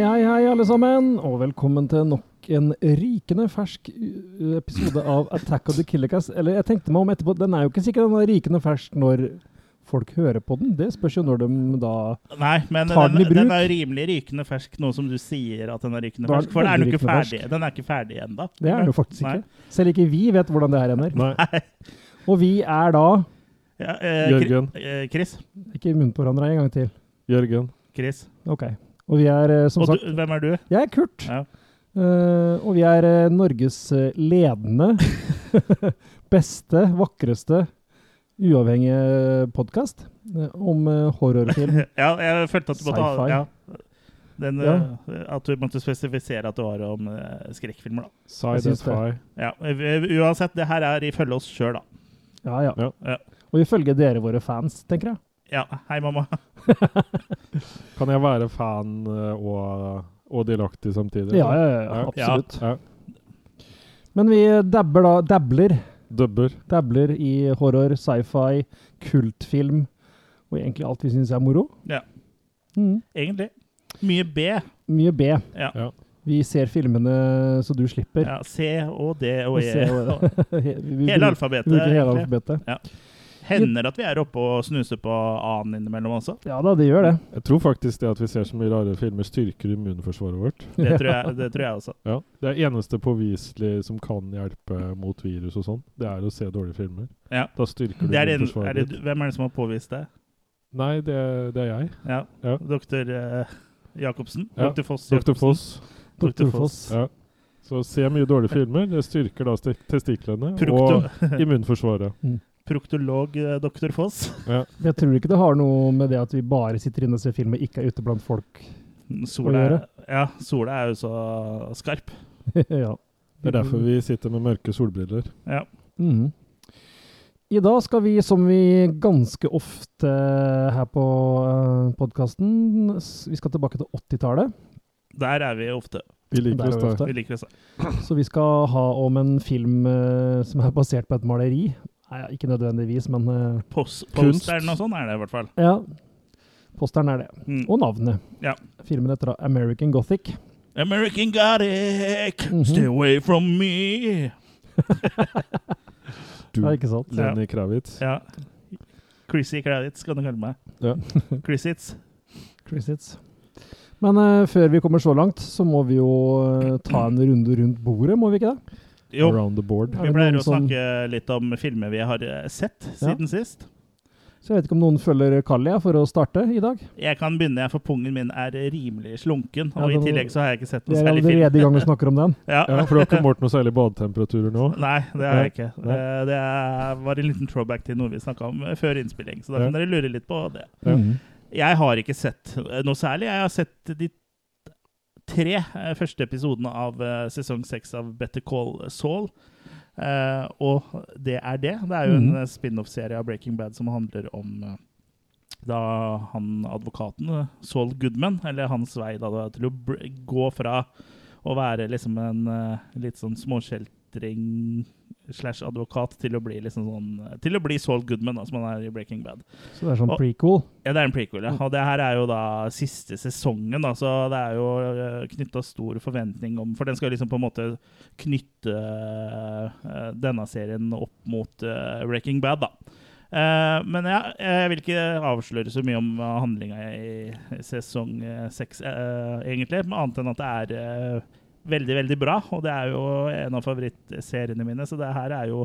alle sammen, og velkommen til nok en rikende fersk uh, episode av Attack of the Killer Cast. Eller jeg tenkte meg om etterpå, den er jo ikke sikkert den er rikende fersk når folk hører på den. Det spørs jo når de da Nei, men Tar den, den i den, bruk. er rimelig rykende fersk, nå som du sier at den er rykende Da er den fersk. For den er jo veldig ikke rykende ferdig. Den er ikke ferdig ennå. Det er det jo faktisk ikke. Selv ikke vi vet hvordan det her ender. Og vi er da Ja, eh, Jørgen. Kri- eh, Chris. Ikke i munnen på hverandre en gang til. Jørgen. Chris. Ok. Og vi er eh, som Og sagt du, hvem er du? Jeg er Kurt. Ja. Eh, og vi er eh, Norges eh, ledende, beste, vakreste, uavhengige podkast om eh, horrorfilm. Ja, jeg følte at du måtte ha Sci-fi. ja. Den, Ja. eh, At du måtte spesifisere at det var om eh, skrekkfilmer, da. Psy Jeg syns Death High. Ja, u- Uansett, det her er ifølge oss sjøl, da. Ja, ja. Ja. Ja. Og ifølge dere, våre fans, tenker jeg. Ja, Hei, mamma. Kan jeg være fan eh, og, og delaktig samtidig? Ja, ja, ja, Ja. absolutt. Ja. Men vi dabber da, dabler, Dubber. dabler i horror, sci-fi, kultfilm og egentlig alt vi syns er moro. Ja. Mm. Egentlig. Mye B. Mye B. Ja. Ja. Vi ser filmene så du slipper. Ja, C og D og Og E. se hva- og- He- vi Hele bruker- alfabetet. vi bruker hele egentlig. alfabetet. Hender at vi er oppe og snuser på A-en innimellom også. Ja da, det gjør det. Jeg tror faktisk det at vi ser så mye rare filmer, styrker immunforsvaret vårt. Det tror jeg, det tror jeg også. Ja. Det er eneste påviselig som kan hjelpe mot virus og sånn, det er å se dårlige filmer. Ja. Da styrker du Det er en, er immunforsvaret det, ditt. hvem er det som har påvist det? Nei, det, det er jeg. Ja. Ja. Doktor eh, Jacobsen? Ja. Doktor Foss? Dr. Jacobsen. Foss. Dr. Dr. Foss. Foss. Ja. Så se mye dårlige filmer. Det styrker da ste- testiklene Prokto, og immunforsvaret. proktolog eh, Doktor Foss? Jeg tror ikke det har noe med det at vi bare sitter inne og ser film og ikke er ute blant folk. Sola, gjøre? ja, sola er jo så skarp. ja. Det er derfor vi sitter med mørke solbriller. Ja. Mhm. I dag skal vi, som vi ganske ofte her på podkasten, vi skal tilbake til 80-tallet. Der er vi ofte. Vi Der liker er oss vi der. ofte. Vi liker oss der. Så vi skal ha om en film eh, som er basert på et maleri. Nei, ikke nødvendigvis, men eh, Pos Kunst. posteren og sånn er det i hvert fall. ja. Posteren er det. Mm. Og navnet. Ja. Filmen heter da American Gothic. American Gothic, Mhm. stay away from me. Du, Ja, ikke sant? Ja. Lenny Kravitz. Ja. Chrissy Kravitz kan du kalle meg. Ja. Chrissitz. Crissits. Men eh, før vi kommer så langt, så må vi jo eh, ta en runde rundt bordet, må vi ikke det? Jo, Around the board. Ja. Er vi det pleier noen sånn- å som- snakke litt om filmer vi har eh, sett siden sist. Så jeg vet ikke om noen følger Kalia for å starte i dag. Jeg kan begynne, jeg, for pungen min er rimelig slunken. Og Ja, i det- tillegg så har jeg ikke sett Vi noe er særlig film. allerede i gang og snakker om den. Ja. Ja, for du har ikke målt noe særlig badetemperaturer nå? Nei, det har jeg ikke. Nei. Eh, Det er- var en liten throwback til noe vi snakka om eh, før innspilling. Så da kan dere lure litt på det. Ja. Mhm. Jeg har ikke sett eh, noe særlig. Jeg har sett de tre eh, første episodene av eh, sesong seks av Better Call Saul. Eh, og det er det. Det er jo en Mhm. eh, spin-off-serie av Breaking Bad som handler om eh, da han advokaten, eh, Saul Goodman, eller hans vei da, da, til å br- gå fra å være liksom en eh, litt sånn småskjeltring slash advokat til å bli liksom sånn Til å bli Saul Goodman, da, som han er i Breaking Bad. Så det er sånn Og- prequel. Ja, det er en prequel, ja. Og det her er jo da siste sesongen, da, så det er jo knytta stor forventning om For den skal liksom på en måte knytte eh, denne serien opp mot eh, Breaking Bad, da. Eh, men ja, jeg vil ikke avsløre så mye om handlinga i sesong eh, seks, eh, egentlig, men annet enn at det er eh, veldig, veldig bra. Og det er jo en av favorittseriene mine, så det her er jo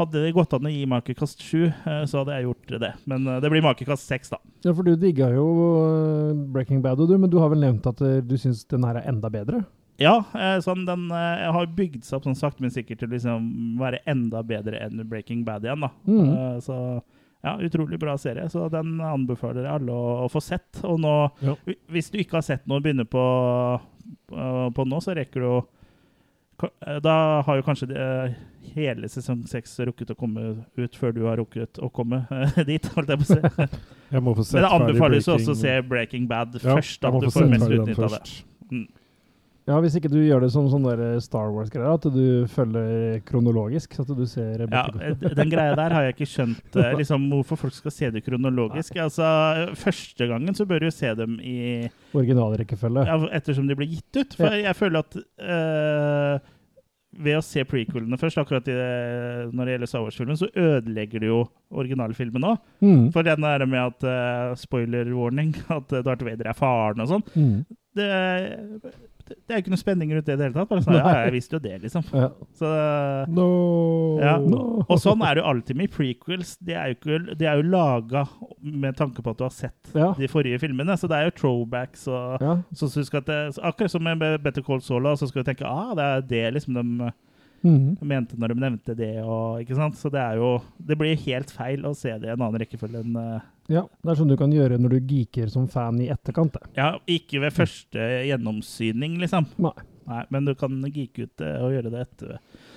hadde det gått an å gi makekast sju, eh, så hadde jeg gjort det. Men eh, det blir makekast seks, da. Ja, for du digga jo eh, Breaking Bad, og du, men du har vel nevnt at eh, du syns den her er enda bedre? Ja, eh, sånn, den eh, har bygd seg opp sånn sakte, men sikkert til å liksom være enda bedre enn Breaking Bad igjen. da. Mm. Mhm. Eh, Så ja, utrolig bra serie. Så den anbefaler jeg alle å, å få sett. Og nå, Ja. hvi- hvis du ikke har sett noe å begynne på, eh, på nå, så rekker du å ka- eh, Da har jo kanskje eh, hele sesong seks rukket å komme ut før du har rukket å komme eh, dit, holdt jeg på å si. Jeg må få sett Men det ferdig anbefales jo Breaking- også å se Breaking Bad Ja, først. jeg At må du få får sett mest ferdig den utnytt av det. først. Mm. Ja, Hvis ikke du gjør det som sånn der Star Wars-greier, at du følger kronologisk. Så at du ser Ja, Rebecca eh, Den greia der har jeg ikke skjønt eh, liksom, hvorfor folk skal se det kronologisk. Altså, Første gangen så bør du se dem i originalrekkefølge. ja, ettersom de ble gitt ut. For jeg føler at eh, ved å se prequelene først, akkurat i, når det gjelder Star Wars-filmen, så ødelegger du jo originalfilmen òg. Mm. For den der med at eh, spoiler warning, at eh, Darth Vader er faren og sånn, Mm. det, det er jo ikke noe spenning rundt det i det hele tatt. Bare sånn, ja, Nei. jeg visste jo det, liksom. Ja. Så No! Ja. No. og sånn er det jo alltid med prequels. De er jo, ikke- de er jo laga med tanke på at du har sett Ja. de forrige filmene, så det er jo throwbacks og ja. så, så du skal te- så akkurat som med Better Call Saul, da, så skal du tenke ah, det er det liksom de Mhm. mente når de nevnte det. Og, ikke sant? Så det er jo Det blir helt feil å se det i en annen rekkefølge enn eh, ja. Det er sånn du kan gjøre når du geeker som fan i etterkant. det. Ja, ikke ved første gjennomsyning, liksom. Nei. Nei, men du kan geeke ut det og gjøre det etter.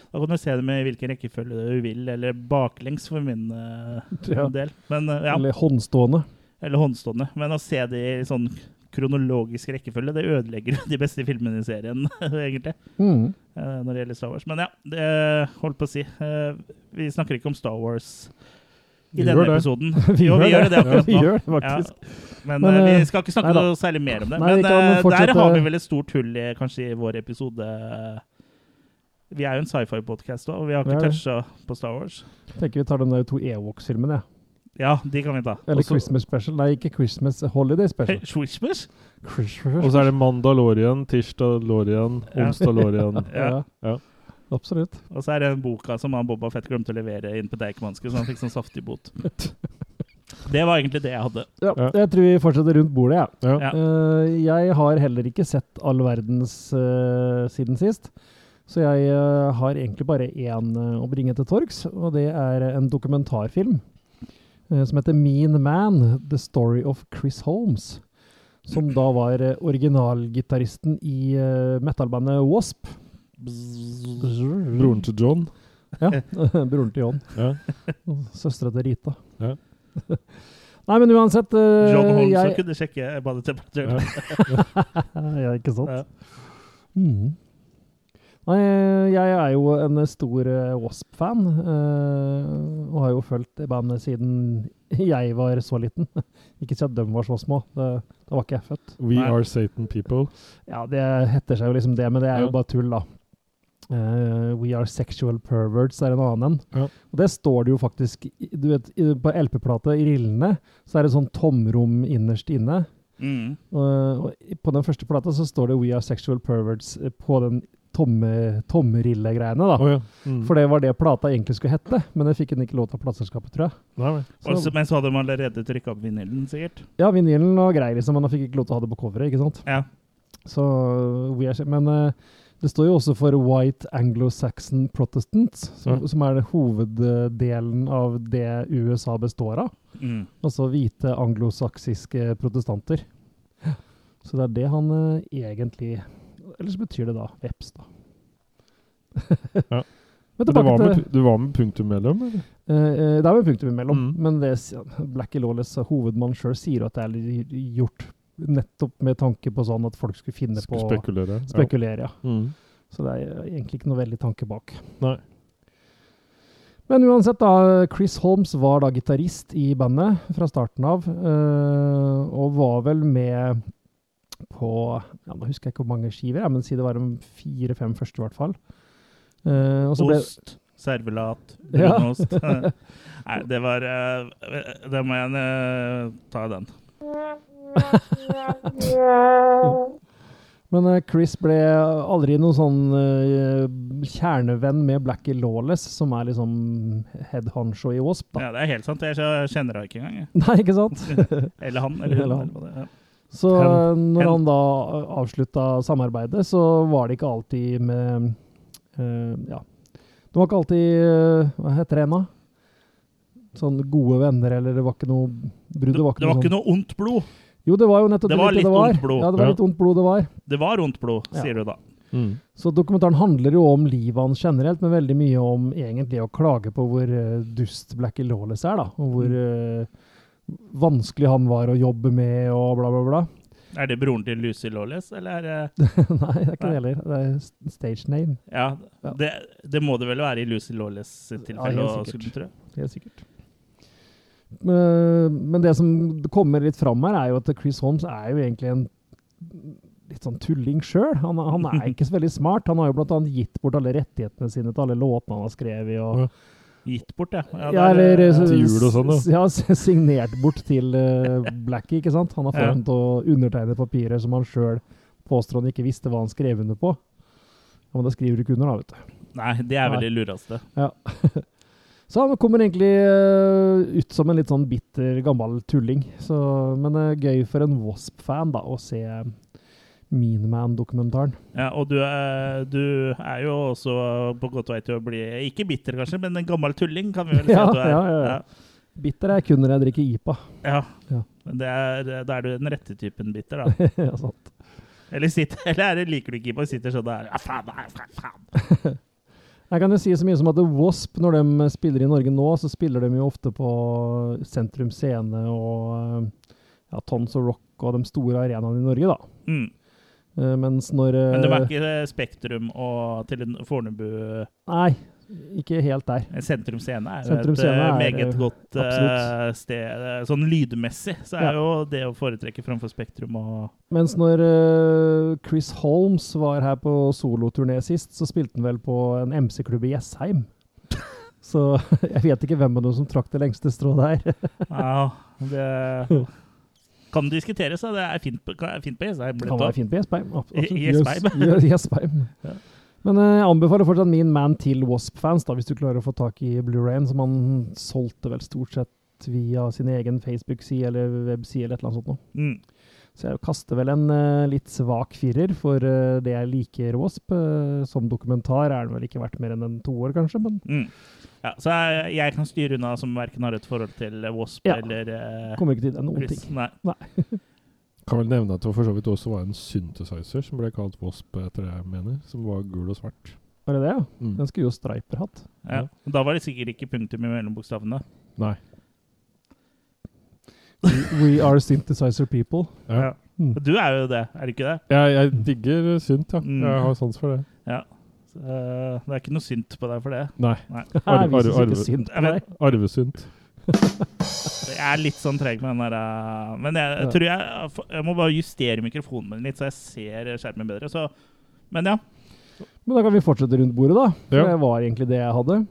Da kan du se det med hvilken rekkefølge du vil, eller baklengs for min eh, Ja. del. Men, eh, ja, eller, Eller håndstående. håndstående. Men å se det i sånn kronologisk rekkefølge, det ødelegger jo de beste filmene i serien, egentlig. Mm. eh, når det gjelder Star Wars. Men ja, det holdt på å si. eh, Vi snakker ikke om Star Wars i Vi denne gjør det. episoden. Jo, vi gjør det akkurat Vi nå. gjør det faktisk. Ja, men Men, eh, eh, vi skal ikke snakke nei da. noe særlig mer om det. Nei, vi men kan eh, fortsette- der har vi vel et stort hull i, kanskje i vår episode. Vi er jo en sci-fi-podkast òg, og vi har Vi ikke er det. toucha på Star Wars. Tenker vi tar den der to Ewoks-filmen, jeg. Ja, de kan vi ta. Eller Også- Christmas Special. Nei, ikke Christmas. Holiday Hey, Special. Swishmas? Christmas. Og så er det Mandalorian, Tirsdalorian, Ja. Onsdalorian Ja. Ja. Absolutt. Og så er det den boka som han Boba Fett glemte å levere inn på Deichmanske, så han fikk sånn saftig bot. Det var egentlig det jeg hadde. Ja, Ja. Jeg tror vi fortsetter rundt bordet, jeg. Ja. Ja. Eh, jeg har heller ikke sett all verdens eh, siden sist. Så jeg eh, har egentlig bare én eh, å bringe til torgs, og det er en dokumentarfilm eh, som heter Mean Man, The Story of Chris Holmes. Som da var eh, originalgitaristen i uh, metalbandet Wasp. Broren til John. Ja, broren til John. Ja. Søstera til Rita. Ja. Nei, men uansett eh, John Holmes som jeg, kunne sjekke badetemperaturen. Ja. ja, ikke sant? Ja. Mhm. Nei, jeg er jo en stor eh, Wasp-fan, eh, og har jo fulgt bandet siden jeg var så liten. Ikke si at de var så små, det, da var ikke jeg født. We Nei. are Satan people. Ja, det heter seg jo liksom det, men det er jo Ja. bare tull, da. Eh, We Are Sexual Perverts er en annen en. Ja. Og det står det jo faktisk i- du vet, i- På LP-plata i rillene så er det sånn tomrom innerst inne. Mm. Og, og i- på den første plata så står det 'We are sexual perverts' eh, på den tomme, tommerille-greiene. da. Å ja. Mm. For det var det plata egentlig skulle hette, men det fikk den ikke lov til av plateselskapet, tror jeg. Nei, vel. Så- Og så- men så hadde de allerede trykka opp vinylen, sikkert. Ja, vinylen var grei, liksom, men han fikk ikke lov til å ha det på coveret. ikke sant? Ja. Så øh, we are, se- Men øh, det står jo også for White Anglo-Saxon Protestants, som, Ja. som er det hoveddelen av det USA består av. Mm. Altså hvite anglosaksiske protestanter. Så det er det han eh, egentlig Ellers betyr det da veps, da. Ja. Men Men det tilbake var til med, du var med punktum mellom, eller? eh, eh, Det er jo et punktum imellom, Mm. men det s- Blackie Lawless, eh, hovedmannen sjøl, sier jo at det er litt gjort nettopp med tanke på sånn at folk skulle finne Skulle på å spekulere. Ja. spekulere. Ja. Mm. Så det er eh, egentlig ikke noe veldig tanke bak. Nei. Men uansett, da. Chris Holmes var da gitarist i bandet fra starten av. eh, og var vel med på ja, Nå husker jeg ikke hvor mange skiver, jeg, men si det var de fire-fem første, i hvert fall. Eh, og så ble, Ost, servelat, Ja. brunost. Nei, det var eh, Det må jeg eh, ta den. men eh, Chris ble aldri noen sånn eh, kjernevenn med Blackie Lawless, som er liksom head honcho i Wasp, da. Ja, det er helt sant. Jeg kjenner henne ikke engang. jeg. Nei, ikke sant? Eller han. Eller Eller hun. Eller han. hva det er. Så Hen- når hen. han da avslutta samarbeidet, så var det ikke alltid med eh, Ja. Det var ikke alltid eh, Hva heter det ennå? Sånn gode venner, eller det var ikke noe brudd? Det Det var ikke, det var noe, ikke noe ondt blod. sånn. Jo, det var jo nettopp Det var litt litt det var. ondt blod. Ja, det var Ja. litt ondt blod det var. Det var ondt blod, Ja. sier du da. Mm. Så dokumentaren handler jo om livet hans generelt, men veldig mye om egentlig å klage på hvor eh, dust Blackie Mm. Lawless er, da. Og hvor eh, vanskelig han var å jobbe med, og bla, bla, bla. Er det broren til Lucy Lawless, eller er det Nei, det er ikke det heller. Det er s- stage name. Ja, Ja. det, det må det vel være i Lucy Lawless sitt Ja, tilfelle. helt og sikkert. skulle tro. Helt sikkert. Men, men det som kommer litt fram her, er jo at Chris Holmes er jo egentlig en litt sånn tulling sjøl. Han, han er ikke så veldig smart. Han har jo bl.a. gitt bort alle rettighetene sine til alle låtene han har skrevet. Og, Gitt bort, ja. ja, det er- eller eh, Til jul og sånn, da. s- Ja, s- signert bort til eh, Blackie, ikke sant? Han har fått Ja. han til å undertegne papirer som han sjøl påstår han ikke visste hva han skrev under på. Ja, men da skriver du ikke under, da, vet du. Nei, det er vel Nei. det lureste. Så han kommer egentlig eh, ut som en litt sånn bitter, gammel tulling. Så, men det er gøy for en Wasp-fan da, å se Mean Man-dokumentaren. Ja, og du er, du er jo også på godt vei til å bli Ikke bitter, kanskje, men en gammel tulling, kan vi vel si Ja, at du er. ja, ja, ja. Bitter er kun når jeg drikker IPA. Ja. Ja. Men Det er, da er du den rette typen bitter, da. Ja, sant. Eller, sitter, eller er det liker du ikke på og sitter sånn der ja, faen, nei, faen, faen. jeg kan jo si så mye som at Wasp, når de spiller i Norge nå, så spiller de jo ofte på Sentrum Scene og eh, ja, Tons og Rock og de store arenaene i Norge, da. Mm. Eh, Mens når eh, Men det var ikke Spektrum og til en Fornebu Nei, ikke helt der. En Sentrum Scene er jo Sentrum et Scene eh, er, meget eh, godt eh, absolutt. sted. eh, Sånn lydmessig så er Ja. jo det å foretrekke framfor Spektrum og Mens når eh, Chris Holmes var her på soloturné sist, så spilte han vel på en MC-klubb i Jessheim. Så jeg vet ikke hvem av dem som trakk det lengste strået der. Ja, det kan diskuteres. da. Det er fint på, kan- fint på Jessheim. Det kan være fint på Jessheim. ab- I- i absolutt. Jessheim. Jess- Jess- Jessheim. Ja. Men eh, jeg anbefaler fortsatt min man til Wasp-fans, da, hvis du klarer å få tak i Blu-rayen, som han solgte vel stort sett via sin egen Facebook-side eller webside eller et eller annet sånt. noe. Mm. Så jeg kaster vel en eh, litt svak firer for eh, det jeg liker Wasp. Eh, som dokumentar er den vel ikke verdt mer enn en toer, kanskje, men Mm. Ja, så jeg, jeg kan styre unna som verken har et forhold til Wasp Ja. eller eh, kommer ikke til det noen Chris. ting. Nei. Kan vel nevne at det for så vidt også var en synthesizer som ble kalt Wasp, etter det jeg mener, som var gul og svart. Var det det, ja? Mm. Den skulle jo Striper hatt. Ja. Da var det sikkert ikke punktum i mellombokstavene. Nei. We are synthesizer people. Ja. Ja. Mm. Du er jo det, er du ikke det? Jeg, jeg digger synt, ja. Mm. Jeg har sans for det. Så, eh, det er ikke noe synd på deg for det. Nei. Her Arve- vises arve- ikke synd på Jeg deg. vet- Arvesynt. Jeg er litt sånn treg med den der eh, Men jeg, Ja. tror jeg Jeg må bare justere mikrofonen min litt, så jeg ser skjermen bedre. Så, men ja. Men da kan vi fortsette rundt bordet, da. For Ja. det var egentlig det jeg hadde.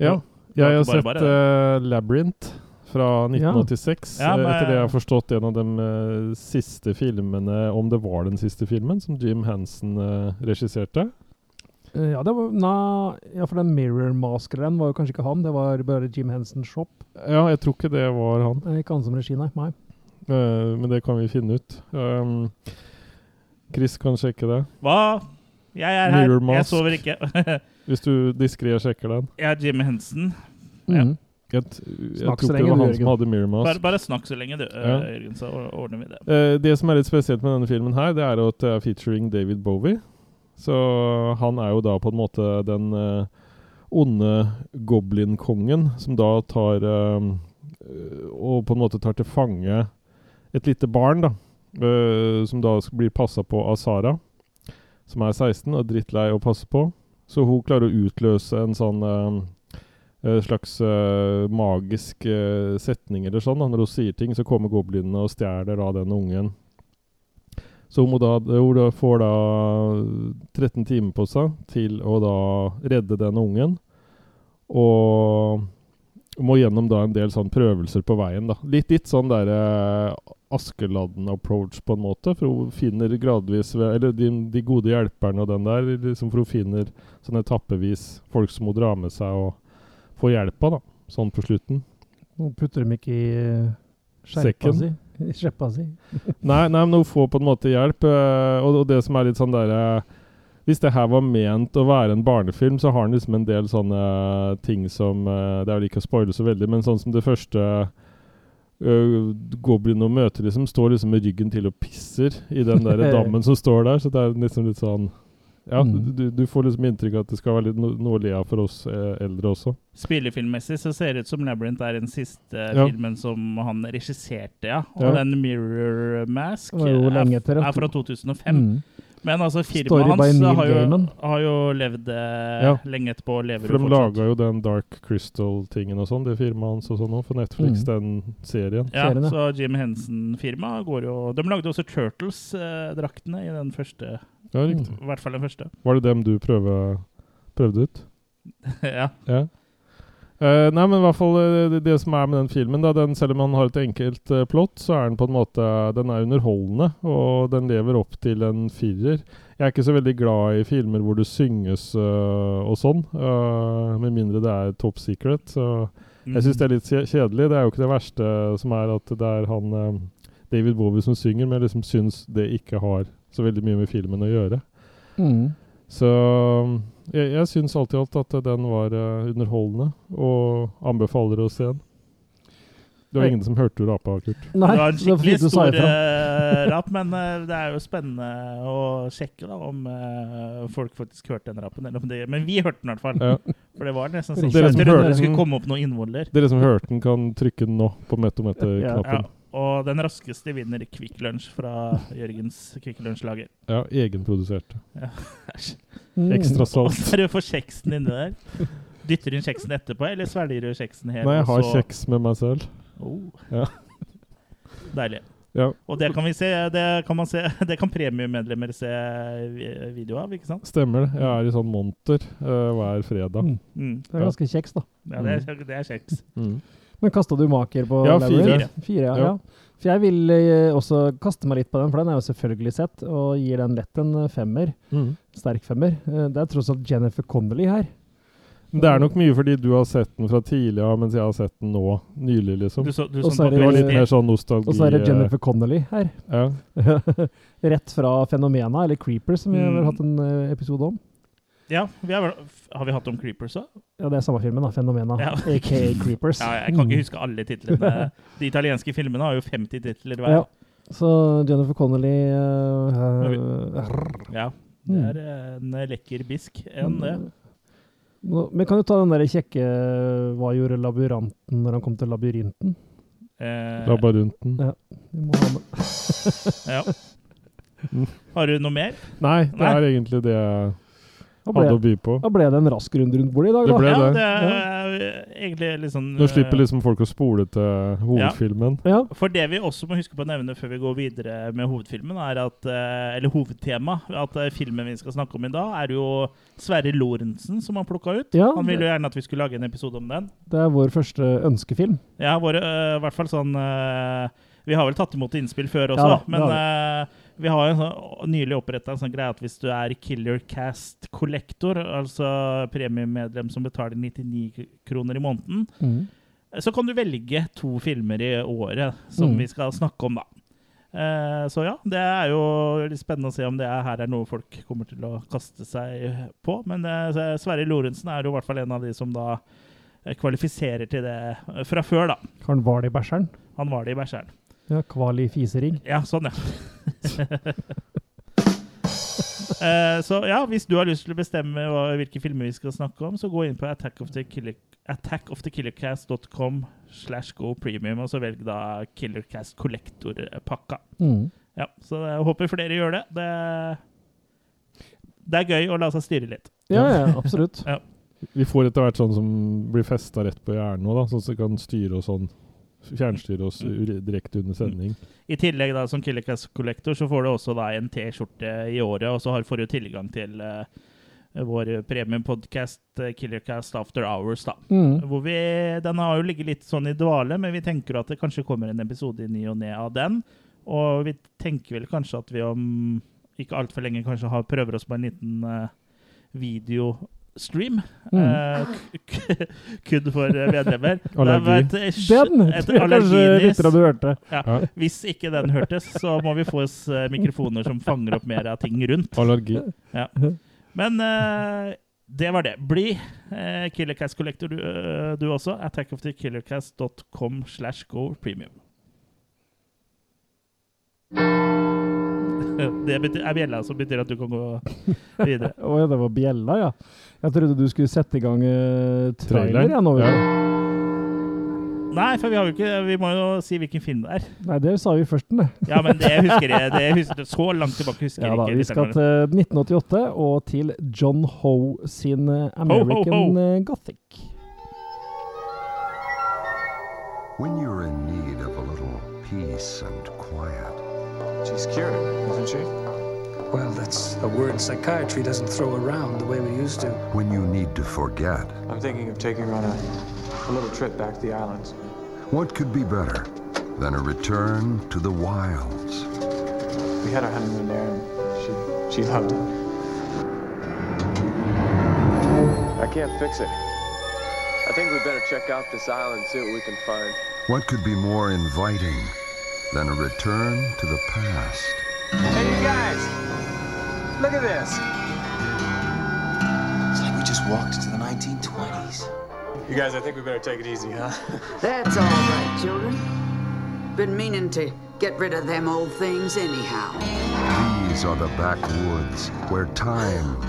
Ja. Ja, Jeg bare- har sett bare- eh, Labyrinth fra 1986. Ja, men- eh, Etter det jeg har forstått, en av de eh, siste filmene, om det var den siste filmen, som Jim Hansen eh, regisserte. Eh, ja, det var, na, ja, for den Mirror Maskeren var jo kanskje ikke han, det var bare Jim Henson Shop. Ja, jeg tror ikke det var han, Eh, Ikke han som regi, nei. nei. eh, men det kan vi finne ut. Um, Chris kan sjekke det, Hva? Jeg er her. Mirror Mask. Jeg sover ikke. hvis du diskré sjekker den. jeg er Jim Hensen. Ja. Mhm. Jeg, t- jeg Snakk tror så lenge ikke det var du, han Jørgen. som hadde Mirror Mask. Bare, bare snakk så lenge, du, øh, Ja. Jørgen, så or- ordner vi det. Eh, det som er litt spesielt med denne filmen her, det er jo at det er featuring David Bowie. Så han er jo da på en måte den eh, onde goblinkongen som da tar eh, eh, Og på en måte tar til fange et lite barn, da. eh, som da sk- blir passa på av Sara, som er 16 og drittlei å passe på. Så hun klarer å utløse en sånn eh, eh, slags eh, magisk eh, setning eller sånn. Da. Når hun sier ting, så kommer goblinene og stjeler da den ungen. Så hun, må da, hun da får da 13 timer på seg til å da redde den ungen. Og må gjennom da en del sånn prøvelser på veien. da. Litt, litt sånn der eh, Askeladden-approach på en måte. For hun finner gradvis ved, Eller de, de gode hjelperne og den der. liksom For hun finner sånn etappevis folk som må dra med seg og få hjelp av, da. Sånn på slutten. Nå putter de ikke i eh, skjerpa Sekken. si. I skjeppa si. Nei, nei, men hun får på en måte hjelp. eh, Og, og det som er litt sånn derre Hvis det her var ment å være en barnefilm, så har den liksom en del sånne ting som eh, Det er vel ikke å spoile så veldig, men sånn som det første øh, Goblin hun møter, liksom, står liksom med ryggen til og pisser i den der dammen som står der. Så det er liksom litt sånn Ja, Mm. du, du får liksom inntrykk av at det skal være litt no, noe å le av for oss eh, eldre også. Spillefilmmessig så ser det ut som Labyrinth er den siste eh, Ja. filmen som han regisserte, ja. Og Ja. den Mirror Mask Det var jo eh, er, lenge etter, ja. er fra 2005. Mm. Men altså, firmaet Story by hans Neil har jo, Gaiman. har jo levd eh, Ja. lenge etterpå. og Lever For jo de fortsatt. laga jo den Dark Crystal-tingen og sånn, det firmaet hans og sånn òg, for Netflix, Mm. den serien. Ja, serien, ja. så Jim Henson-firmaet går jo De lagde også Turtles-draktene i den første. Ja, riktig. I hvert fall den første. Mm. Var det dem du prøve, prøvde ut? ja. Ja. Eh, nei, men i hvert fall eh, det, det som er med den filmen, da, den, selv om han har et enkelt eh, plott, så er den på en måte Den er underholdende, og den lever opp til en firer. Jeg er ikke så veldig glad i filmer hvor det synges eh, og sånn, eh, med mindre det er top secret. Så jeg syns det er litt kje- kjedelig. Det er jo ikke det verste som er at det er han eh, David Bowie som synger, men jeg liksom syns det ikke har så veldig mye med filmen å gjøre. Mm. Så um, jeg, jeg syns alt i alt at eh, den var eh, underholdende, og anbefaler å se den. Det var Hei. ingen som hørte rapa, Kurt. Nei, det var en så det var skikkelig fint du sa stor ifra. eh, rap, men eh, det er jo spennende å sjekke da, om eh, folk faktisk hørte den rappen. Eller om det, men vi hørte den i hvert fall. Ja. For det var nesten Dere sånn som at jeg trodde hørte det skulle den- komme opp noen innvoller. Dere som hørte den, kan trykke den nå på Ja. metometer-knappen. Ja, og den raskeste vinner Kvikk Lunsj fra Jørgens Kvikk Lunsj-lager. Ja, egenprodusert. Æsj. Mm. Ekstra salt. Åssen er det du får kjeksen inni der? Dytter du inn kjeksen etterpå, eller svelger du kjeksen helt? Nei, jeg og har så- kjeks med meg selv. Oh. Ja. Deilig. Ja, Og det kan vi se, det kan, man se, det kan premiemedlemmer se vi- video av, ikke sant? stemmer det. Jeg er i sånn monter eh, hver fredag. Mm. Mm. Det er ganske kjeks, da. Ja, det er, det er kjekt. Mm. Men kasta du maker på Ja, Labyrinth? fire. Fire, ja, Ja. ja. For jeg vil eh, også kaste meg litt på den, for den er jo selvfølgelig sett, og gir den lett en eh, femmer. Mm. Sterk femmer. Eh, Det er tross alt Jennifer Connolly her. Men det er nok mye fordi du har sett den fra tidligere, mens jeg har sett den nå, nylig, liksom. Du så, du Og sånn så er på det- Det var litt kveldstid. mer sånn nostalgi. Og så er det eh, Jennifer Connolly her. Ja. Rett fra Fenomena, eller Creeper, som vi Mm. har hatt en eh, episode om. Ja, vi har, vel- har vi hatt om Creepers òg? Ja, det er samme filmen, da. Fenomena, Ja. aka Creepers. Ja, jeg kan ikke huske alle titlene. De italienske filmene har jo 50 titler hver. Ja. Så Jennifer Connolly eh, eh, Ja. Det er eh, en lekker bisk. En, det. Nå- Men kan du ta den der kjekke eh, Hva gjorde labyranten når han kom til labyrinten? Mm. Eh, Labarunten. Vi må ha med. ja. Mm. Har du noe mer? Nei, det Nei. er egentlig det jeg Da hadde å ble, by på. da ble det en rask runde rundt bordet i dag, da. Det ble- Ja, det. det er egentlig litt sånn Nå slipper eh, liksom folk å spole til hovedfilmen. Ja. For det vi også må huske på å nevne før vi går videre med hovedfilmen, er at, eh, eller hovedtema, at eh, filmen vi skal snakke om i dag, er jo Sverre Lorentzen som han plukka ut. ja, Han ville det jo gjerne at vi skulle lage en episode om den. det er vår første ønskefilm. Ja, våre, eh, i hvert fall sånn eh, Vi har vel tatt imot innspill før også, Ja da, da, men det eh, vi har jo en sånn, nylig oppretta en sånn greie at hvis du er Killer Cast Collector, altså premiemedlem som betaler 99 kroner i måneden, så kan du velge to filmer i året som Mm. vi skal snakke om, da. Eh, så ja, det er jo litt spennende å se om det er, her er noe folk kommer til å kaste seg på. Men eh, Sverre Lorentzen er jo i hvert fall en av de som da eh, kvalifiserer til det eh, fra før, da. Han var det i bæsjeren. Han var det i Bæsjeren. Ja, Kvali fisering. Ja, sånn, ja. Eh, så ja, hvis du har lyst til å bestemme hva, hvilke filmer vi skal snakke om, så gå inn på attackofthekiller- attackofthekillercast.com slash go premium, og så velg da Killercast Collector-pakka. Ja, så jeg håper flere gjør det. Det, det er gøy å la seg styre litt. Ja, ja, absolutt. Vi får etter hvert sånn som blir festa rett på hjernen nå, da, sånn at vi kan styre oss sånn. Fjernstyre oss Mm. u- direkte under sending. I tillegg da, som Killercast Collector så får du også da en T-skjorte i året, og så har får du tilgang til eh, vår premiumpodkast eh, Killercast After Hours, da. Mm. Hvor vi, den har jo ligget litt sånn i dvale, men vi tenker at det kanskje kommer en episode i ny og ne av den. Og vi tenker vel kanskje at vi om ikke altfor lenge kanskje har, prøver oss på en liten eh, videostream. Mm. Eh, k- k- Kun for eh, medlemmer. Allergi. Det var et, Den et tror jeg kanskje allerginis. lytterne hadde hørt det. Ja. Hvis ikke den hørtes, så må vi få oss eh, mikrofoner som fanger opp mer av ting rundt. Allergi. Men eh, det var det. Bli eh, Killercast Collector, du, eh, du også. Attackofthekillercast.com slash go premium. Det betyr, er bjella som betyr at du kan gå videre. Å ja, det var bjella, ja. Jeg trodde du skulle sette i gang eh, trailer, Trailer? jeg nå. vet du. Nei, for vi, har jo ikke, vi må jo si hvilken film det er. Nei, det sa vi først, den, det. Ja, men det husker jeg. Det husker, så langt tilbake husker Ja jeg da, ikke. vi skal lytterne. til 1988 og til John Ho sin eh, American ho, ho. eh, Gothic. When you're in need of a little peace and quiet, She's cured, isn't she? Well, that's a word psychiatry doesn't throw around the way we used to. when you need to forget, I'm thinking of taking her on a, a little trip back to the islands. what could be better than a return to the wilds? We had our honeymoon there, and she she loved it. I can't fix it. I think we better check out this island, see what we can find. What could be more inviting than a return to the past? Hey, you guys! Look at this. It's like we just walked into the 1920s. You guys, I think we better take it easy, huh? That's all right, children. Been meaning to get rid of them old things anyhow. These are the backwoods where time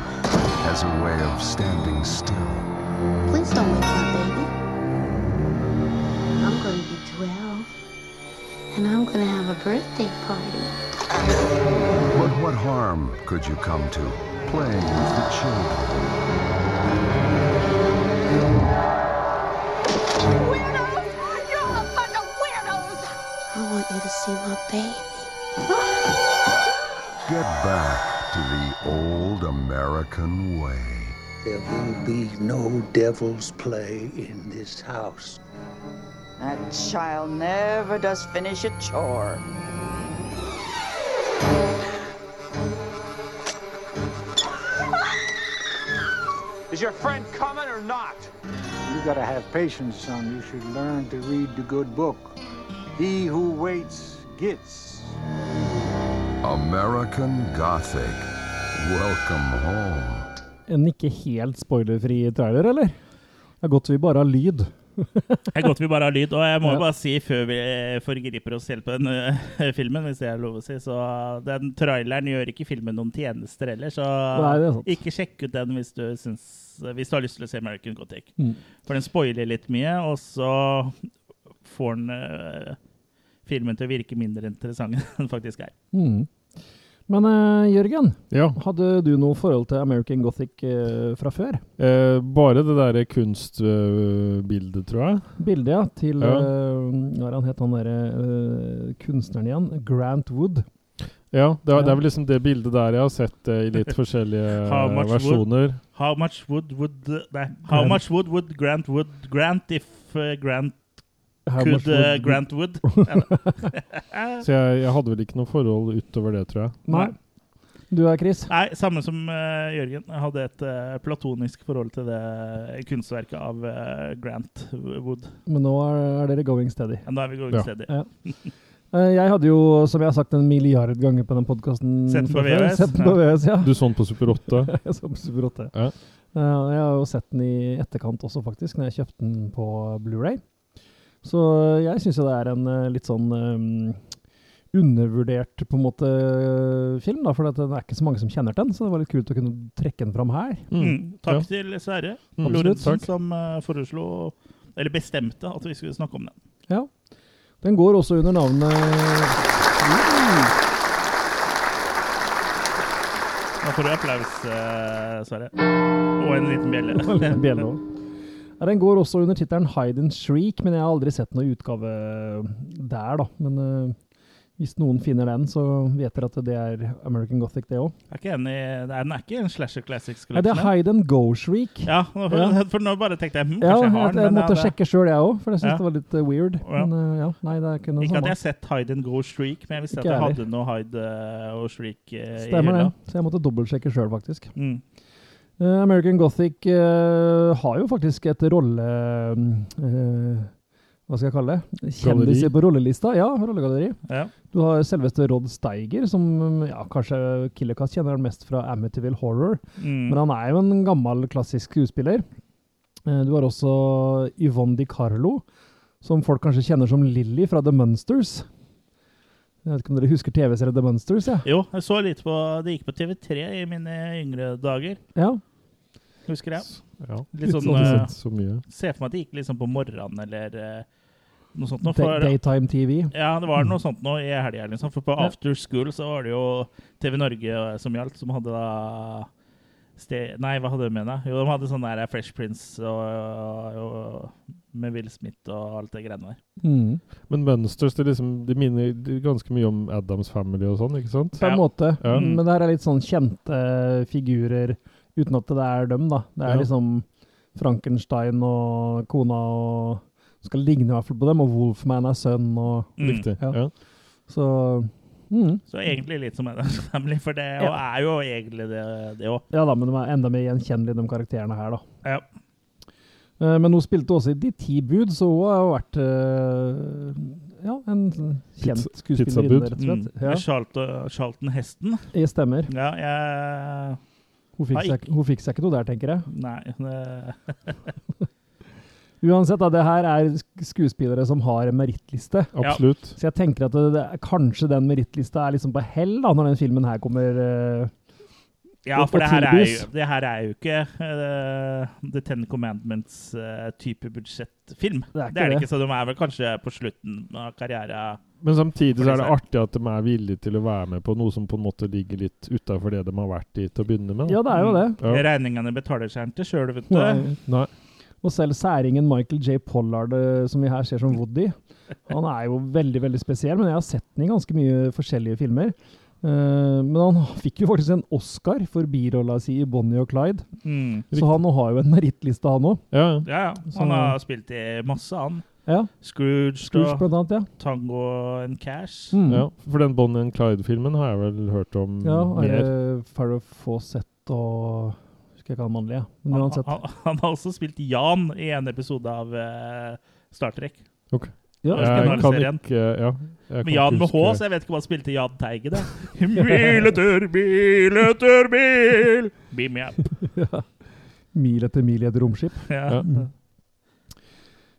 has a way of standing still. Please don't wake up, baby. I'm going to be 12, and I'm going to have a birthday party. But what harm could you come to playing with the children? Weirdos! You're a bunch of weirdos! I want you to see my baby. Get back to the old American way. There will be no devil's play in this house. That child never does finish a chore. Is your friend coming or not? You gotta have patience, son. You should learn to read the good book. He who waits gets. American Gothic. Welcome home. En ikke helt spoilerfri trailer, eller? Det er godt vi bare har lyd. Det er godt vi bare har lyd. Og jeg må Ja. jo bare si, før vi eh, forgriper oss selv på den eh, filmen, hvis det er lov å si, så den traileren gjør ikke filmen noen tjenester heller, så Nei, det er sant. ikke sjekk ut den hvis du, syns, hvis du har lyst til å se American Gothic. Mm. For den spoiler litt mye, og så får den eh, filmen til å virke mindre interessant enn den faktisk er. Mm. Men eh, Jørgen, Ja. hadde du noe forhold til American Gothic eh, fra før? Eh, bare det derre kunstbildet, tror jeg. Bildet, ja, til Ja. eh, Hva er han het han derre eh, kunstneren igjen? Grant Wood. Ja, det Ja. er, det er vel liksom det bildet der jeg har sett det i litt forskjellige How much wood? versjoner. How much would, would Nei, how Grant. much would, would Grant would Grant if eh, Grant How much could eh, wood- Grant would? Så jeg, jeg hadde vel ikke noe forhold utover det, tror jeg. Nei. Du er Chris? Nei, samme som eh, Jørgen. Jeg hadde et eh, platonisk forhold til det kunstverket av eh, Grant Wood. Men nå er, er dere going steady. Ja, Nå er vi going Ja. steady. Eh, Jeg hadde jo, som jeg har sagt en milliard ganger på den podkasten Sett den på VHS, Sett den på VHS, ja. Du så den på Super 8? Som Super 8. Ja. Eh, og Jeg har jo sett den i etterkant også, faktisk, når jeg kjøpte den på Blu-ray. Så jeg syns jo det er en eh, litt sånn eh, undervurdert på en måte film, da, for at det er ikke så mange som kjenner den. Så det var litt kult å kunne trekke den fram her. Mm. Takk Ja. til Sverre Mm. Lorentzen, Absolutt, takk. som eh, foreslo eller bestemte at vi skulle snakke om den. Ja. Den går også under navnet mm. Da får du applaus, eh, Sverre. Og en liten bjelle. Bjelle også. Ja, den går også under tittelen Hide and Shriek, men jeg har aldri sett noen utgave der, da. Men eh, hvis noen finner den, så vet dere at det er American Gothic, det òg. Jeg er ikke enig. i- Nei, Den er ikke en slasher classics. Er det collection, Hide and Go Shriek? Ja, nå- Ja. for, for nå bare tenkte jeg hm, Ja, kanskje jeg har jeg, den. jeg men måtte ja, det- sjekke sjøl, jeg òg, for jeg syntes Ja. det var litt eh, weird. Ja. Men eh, ja, nei, det er ikke noe Ikke at jeg samme. har sett Hide and Go Shriek, men jeg visste at Ikke jeg jeg hadde noe Hide eh, og Shriek eh, i Stemmer det. hylla. Så jeg måtte dobbeltsjekke sjøl, faktisk. Mm. Eh, American Gothic eh, har jo faktisk et rolle... eh, hva skal jeg kalle det? Kjendiser Galleri. på rollelista. Ja, rollegalleri. Ja. Du har selveste Rod Steiger, som mm, ja, kanskje Killercast kjenner han mest fra Amityville Horror. Mm. Men han er jo en gammel, klassisk skuespiller. Eh, Du har også Yvonne Di Carlo, som folk kanskje kjenner som Lilly fra The Munsters. Jeg vet ikke om dere husker TV-serien The Monsters? Ja. Jo, jeg så litt på Det gikk på TV3 i mine yngre dager. Ja. Husker jeg. Ja. Litt sånn, Ikke eh, sett så mye. Ser for meg at det gikk liksom på morgenen eller eh, noe sånt. Nå, Day- for, Daytime TV. ja, det var noe sånt nå i helga, liksom. For på Mm. Ja. After School så var det jo TV Norge eh, som gjaldt, som hadde da ste- Nei, hva hadde de med, da? Jo, de hadde sånn der Fresh Prince og, og, med Will Smith og alt det greiene der. Mm. Men Monsters det liksom, de minner ganske mye om Adams Family og sånn, ikke sant? På en Ja. måte. Ja. Men det her er litt sånn kjente figurer, uten at det er dem, da. Det er Ja. liksom Frankenstein og kona og Skal ligne i hvert fall på dem, og Wolfman er sønn og Mm. Riktig. Ja. Ja. Så mm. Så egentlig litt som Adams Family, for det og Ja. er jo egentlig det det òg. Ja da, men de er enda mer gjenkjennelige, de karakterene her, da. Ja. Eh, Men hun spilte også i De ti bud, så hun har jo vært eh, ja, en kjent Pizza- skuespillerinne, pizzabud. rett og Mm. slett. Ja, Charlton, Charlton Heston. jeg stemmer. Ja, jeg Hun fikk, Nei. seg, hun fikk seg ikke noe der, tenker jeg. Nei. Det, Uansett, da, det her er sk- skuespillere som har en merittliste. Absolutt. Så jeg tenker at det, det, er- kanskje den merittlista er liksom på hell da, når den filmen her kommer. eh, Ja, Og- for og det her, er jo, tilbys. det her er jo ikke eh, The Ten Commandments-type budsjettfilm. Det er Det er ikke det, det. ikke, så de er vel kanskje på slutten av karrieren. Men samtidig så er det For artig at de er villige til å være med på noe som på en måte ligger litt utafor det de har vært i til å begynne med. Ja, da. det er jo det. Ja. Regningene betaler seg ikke sjøl, vet du. Nei. Nei. Og selv særingen Michael J. Pollard, eh, som vi her ser som Woody, han er jo veldig veldig spesiell, men jeg har sett den i ganske mye forskjellige filmer. Eh, Men han fikk jo faktisk en Oscar for birolla si i Bonnie og Clyde, Mm. så han har jo en merittliste, han òg. Ja, ja. Ja, ja. Så- Han har spilt i masse, han. Ja. Scrooge, Scrooge, og blant annet, ja. Tango and Cash. Mm. ja. For den Bonnie and Clyde-filmen har jeg vel hørt om Ja, er Mm, mer. det Farrow Fawcett og Husker ikke han mannlige. Men Han, uansett. han, han har også spilt Jan i en episode av eh, Star Trek. Ja, Ja, husker Jeg han. Skandinavisk. kan serien. ikke Ja. jeg kan Med Jan ikke med H, huske- så jeg vet ikke om han spilte Jan Teige, da. Miletur, miletur, bil! Beam me up. Mil etter mil i et romskip. Ja.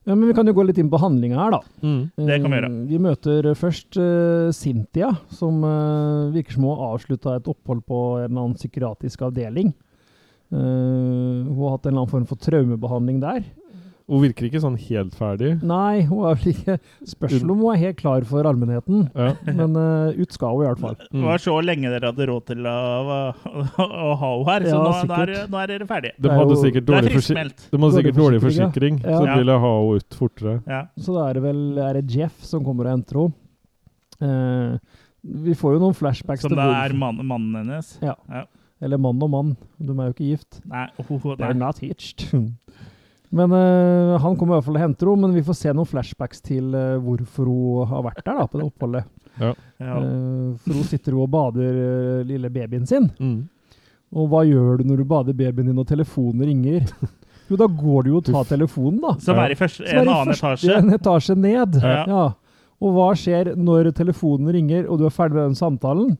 Ja, men vi kan jo gå litt inn på handlinga her, da. Mm. Det kan vi Eh, gjøre. Vi møter først eh, Cynthia, som eh, virker som hun har avslutta et opphold på en eller annen psykiatrisk avdeling. Eh, hun har hatt en eller annen form for traumebehandling der. Hun virker ikke sånn helt ferdig. Nei, hun er vel ikke Spørsmål om hun er helt klar for allmennheten, Ja. men eh, ut skal hun i hvert fall. Det var så lenge dere hadde råd til å, å, å ha henne her, Ja, så nå, nå, sikkert. er, nå er dere ferdige. De Det er hadde jo- sikkert Det er dårlig, forsi friskmeldt. de hadde sikkert Dårlig dårlig forsikring, forsikring, ja. så Ja. de ville ha henne ut fortere. Ja. Så da er det vel er det Jeff som kommer og henter henne. Eh, vi får jo noen flashbacks Som til det Wolf. er mann, mannen hennes. Ja. Ja. Eller mann og mann, de er jo ikke gift. Nei, oh, oh, They're nei. not hitched. Men eh, han kommer i hvert fall og henter henne, men vi får se noen flashbacks til eh, hvorfor hun har vært der da, på det oppholdet. Ja. Eh, for hun sitter jo og bader eh, lille babyen sin. Mm. Og hva gjør du når du bader babyen din og telefonen ringer? Jo, da går du jo og tar telefonen, da. Som er i første, Så er en det annen første- etasje. En etasje ned. Ja. Ja. Og hva skjer når telefonen ringer og du er ferdig med den samtalen?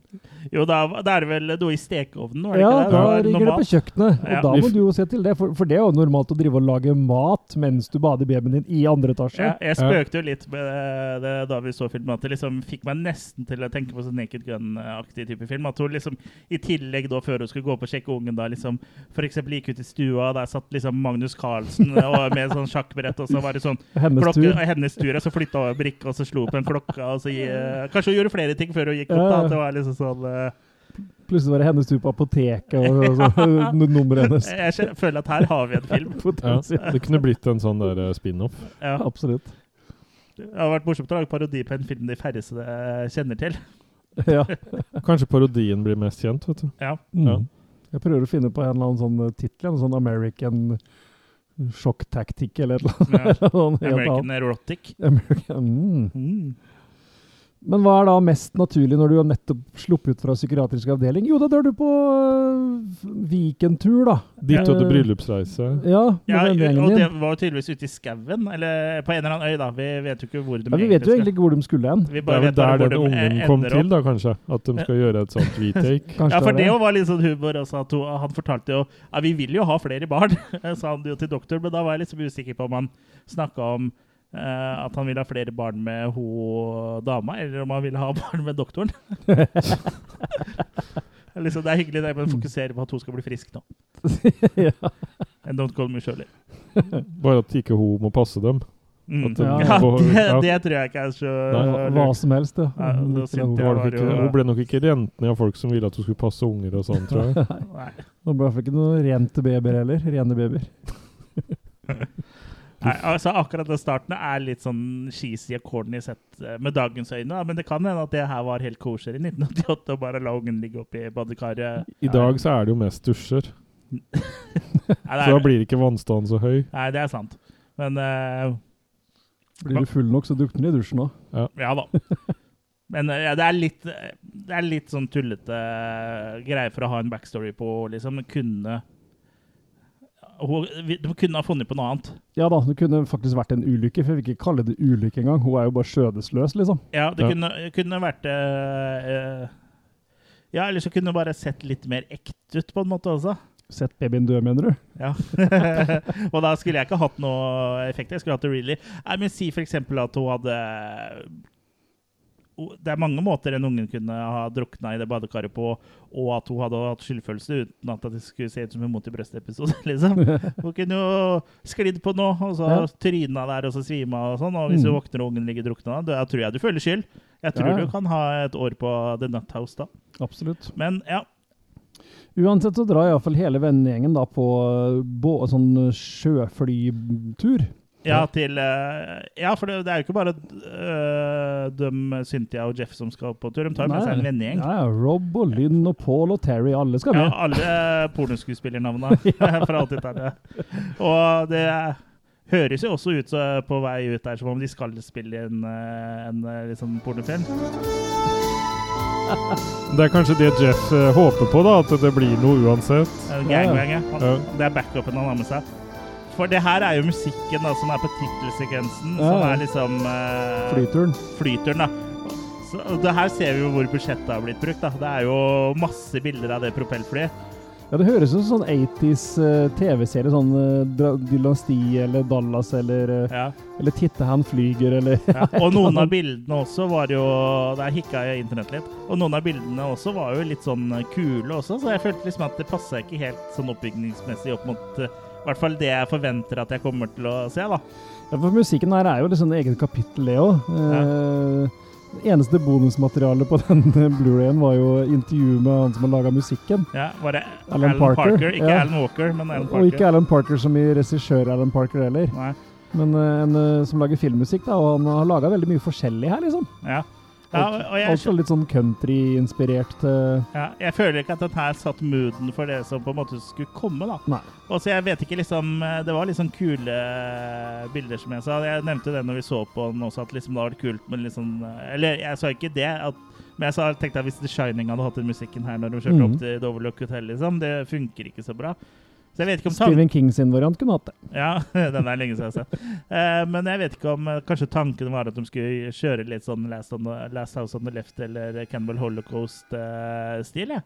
Jo, da, da er det vel noe i stekeovnen, var det Ja, ikke det? da Det var ringer det på normalt. kjøkkenet, og Ja. da må du jo se til det. For, for det er jo normalt å drive og lage mat mens du bader babyen din i andre etasje. Ja, jeg spøkte jo litt med det- det da vi så filmen, at det liksom fikk meg nesten til å tenke på sånn Naked Gun-aktig type film. At hun liksom, i tillegg da, før hun skulle gå opp og sjekke ungen, da liksom for eksempel gikk ut i stua, og der satt liksom Magnus Carlsen og med sånn sjakkbrett, og så var det sånn Hennes klokke, tur. hennes tur, og så flytta hun en brikke, og så slo hun på en klokke, og så eh, Kanskje hun gjorde flere ting før hun gikk opp, da. At det var liksom sånn eh, Plutselig var det hennes tur på apoteket, og, og så nummeret hennes. Jeg kjen- føler at her har vi en film. Ja. Potensielt. Det kunne blitt en sånn der eh, spin-off. Ja. Absolutt. Det hadde vært morsomt å lage parodi på en film de færreste eh, kjenner til. Ja. Kanskje parodien blir mest kjent, vet du. Ja. Ja. Mm. Jeg prøver å finne på en eller annen sånn tittel, en sånn American Shock Tactic eller et eller annet. ja. Sånn helt annet. American Erotic. American. Mm. Mm. Men hva er da mest naturlig når du har nettopp sluppet ut fra psykiatrisk avdeling? Jo, da drar du på øh, Viken-tur, da. Ditt og Eh, du bryllupsreise. Ja, med Ja, vennegjengen og det din. var jo tydeligvis ute i skauen, eller på en eller annen øy, da. Vi vet jo ikke hvor de Ja, vi vet jo egentlig ikke hvor de skulle hen. Vi Det bare er vel vet bare der hvor den de ungen eh, kom ender til, opp. da, kanskje. At de skal gjøre et sånt retake. Kanskje Ja, for det er jo var litt sånn humor også, at hun, han fortalte jo sånn Ja, vi vil jo ha flere barn, sa han jo til doktoren, men da var jeg liksom usikker på om han snakka om eh, at han vil ha flere barn med ho dama, eller om han vil ha barn med doktoren. liksom, det er hyggelig, det, men fokusere på at hun skal bli frisk nå. And don't call me Shirley. Bare at ikke hun må passe dem. Mm. At den- Ja, Ja. det, det tror jeg ikke er så Nei, Hva som helst, ja. Ja, da sitter jeg Var bare det ikke, og- hun ble nok ikke renten av folk som ville at hun skulle passe unger og sånn, tror jeg. Nei. Det ble i hvert fall ikke noe rente babyer heller. Rene babyer. Nei, altså Akkurat den starten er litt sånn cheesy og corny sett eh, med dagens øyne. Da. Men det kan hende at det her var helt kosher i 1988 og bare la ungen ligge oppi badekaret. I dag så er det jo mest dusjer, Nei, så det da er, blir ikke vannstanden så høy. nei, det er sant. Men eh, Blir du full nok, så drukner du i dusjen òg. ja da. Men eh, ja, det, er litt, eh, det er litt sånn tullete eh, greie for å ha en backstory på, liksom. Kunne hun, De kunne ha funnet på noe annet. Ja da, det kunne faktisk vært en ulykke, for jeg vil ikke kalle det ulykke engang. Hun er jo bare skjødesløs, liksom. Ja, det Ja. Kunne, kunne vært eh, eh, Ja, eller så kunne det bare sett litt mer ekte ut, på en måte også. Sett babyen dø, mener du? Ja. og da skulle jeg ikke hatt noe effekt. Jeg skulle hatt det really Nei, men Si for eksempel at hun hadde O- Det er mange måter en ungen kunne ha drukna i det badekaret på, og at hun hadde hatt skyldfølelse uten at det skulle se ut som en mot i brøstet-episode. liksom. Hun kunne jo sklidd på noe, og så Ja. tryna der og så svima og sånn. Og hvis du Mm. våkner og ungen ligger drukna, da tror jeg du føler skyld. Jeg tror Ja, ja. du kan ha et år på The Nut House da. Absolutt. Men ja, Uansett så drar iallfall hele vennegjengen da på eh, bå- sånn sjøflytur. Ja, til eh, Ja, for det, det er jo ikke bare eh, dem, Cynthia og Jeff som skal på tur. De tar med seg en Nei. vennegjeng. Ja, ja, Rob og Lynn og Paul og Terry, alle skal Ja, med. alle pornoskuespillernavna fra 80-tallet. Og det høres jo også ut så, på vei ut der som om de skal spille en, eh, en eh, liksom pornofilm. Det er kanskje det Jeff eh, håper på, da, at det blir noe uansett. Eh, Gangbang, ja. Han- Ja. Det er backupen han har med seg. For det her er jo musikken da, som er på tittelsekvensen, Ja, som ja. er liksom eh, Flyturen. flyturen, da. Så, og det her ser vi jo hvor budsjettet har blitt brukt. da. Det er jo masse bilder av det propellflyet. Ja, Det høres ut som sånn 80s eh, TV-serie, sånn eh, Dra- Dynasti eller Dallas eller eh, Ja. Eller 'Titte, han flyger', eller Ja. Og noen av bildene også var jo Der hikka jeg i internett litt. Og noen av bildene også var jo litt sånn kule også, så jeg følte liksom at det passa ikke helt sånn oppbygningsmessig opp mot eh, i hvert fall det jeg forventer at jeg kommer til å se, da. Ja, for musikken her er jo liksom eget kapittel, det òg. Det eneste bonusmaterialet på den eh, Blu-rayen var jo intervju med han som har laga musikken. Ja, var det Alan Alan Parker? Parker, Ikke ja. Alan Walker, men Alan Og ikke Parker. Alan Parker som i regissør Alan Parker heller, Nei. men eh, en eh, som lager filmmusikk, da, og han har laga veldig mye forskjellig her, liksom. Ja. Ja, Alt, og jeg alt fra litt sånn country-inspirert eh, til Ja, jeg føler ikke at den her satt mooden for det som på en måte skulle komme, da. Nei. Og så jeg vet ikke, liksom eh, Det var liksom kule eh, bilder, som jeg sa. Jeg nevnte det når vi så på den også, at liksom det hadde vært kult med litt sånn eh, Eller jeg sa ikke det, at, men jeg sa, tenkte at hvis The Shining hadde hatt den musikken her når de kjørte Mhm. opp til Doverlook Hotel, liksom Det funker ikke så bra. Så jeg vet ikke om tanken Stephen King sin variant kunne hatt det. Ja, den er lenge siden jeg har sett. Eh, men jeg vet ikke om eh, Kanskje tanken var at de skulle kjøre litt sånn Last, on the, Last House on the Left eller Cannibal Holocaust-stil. ja.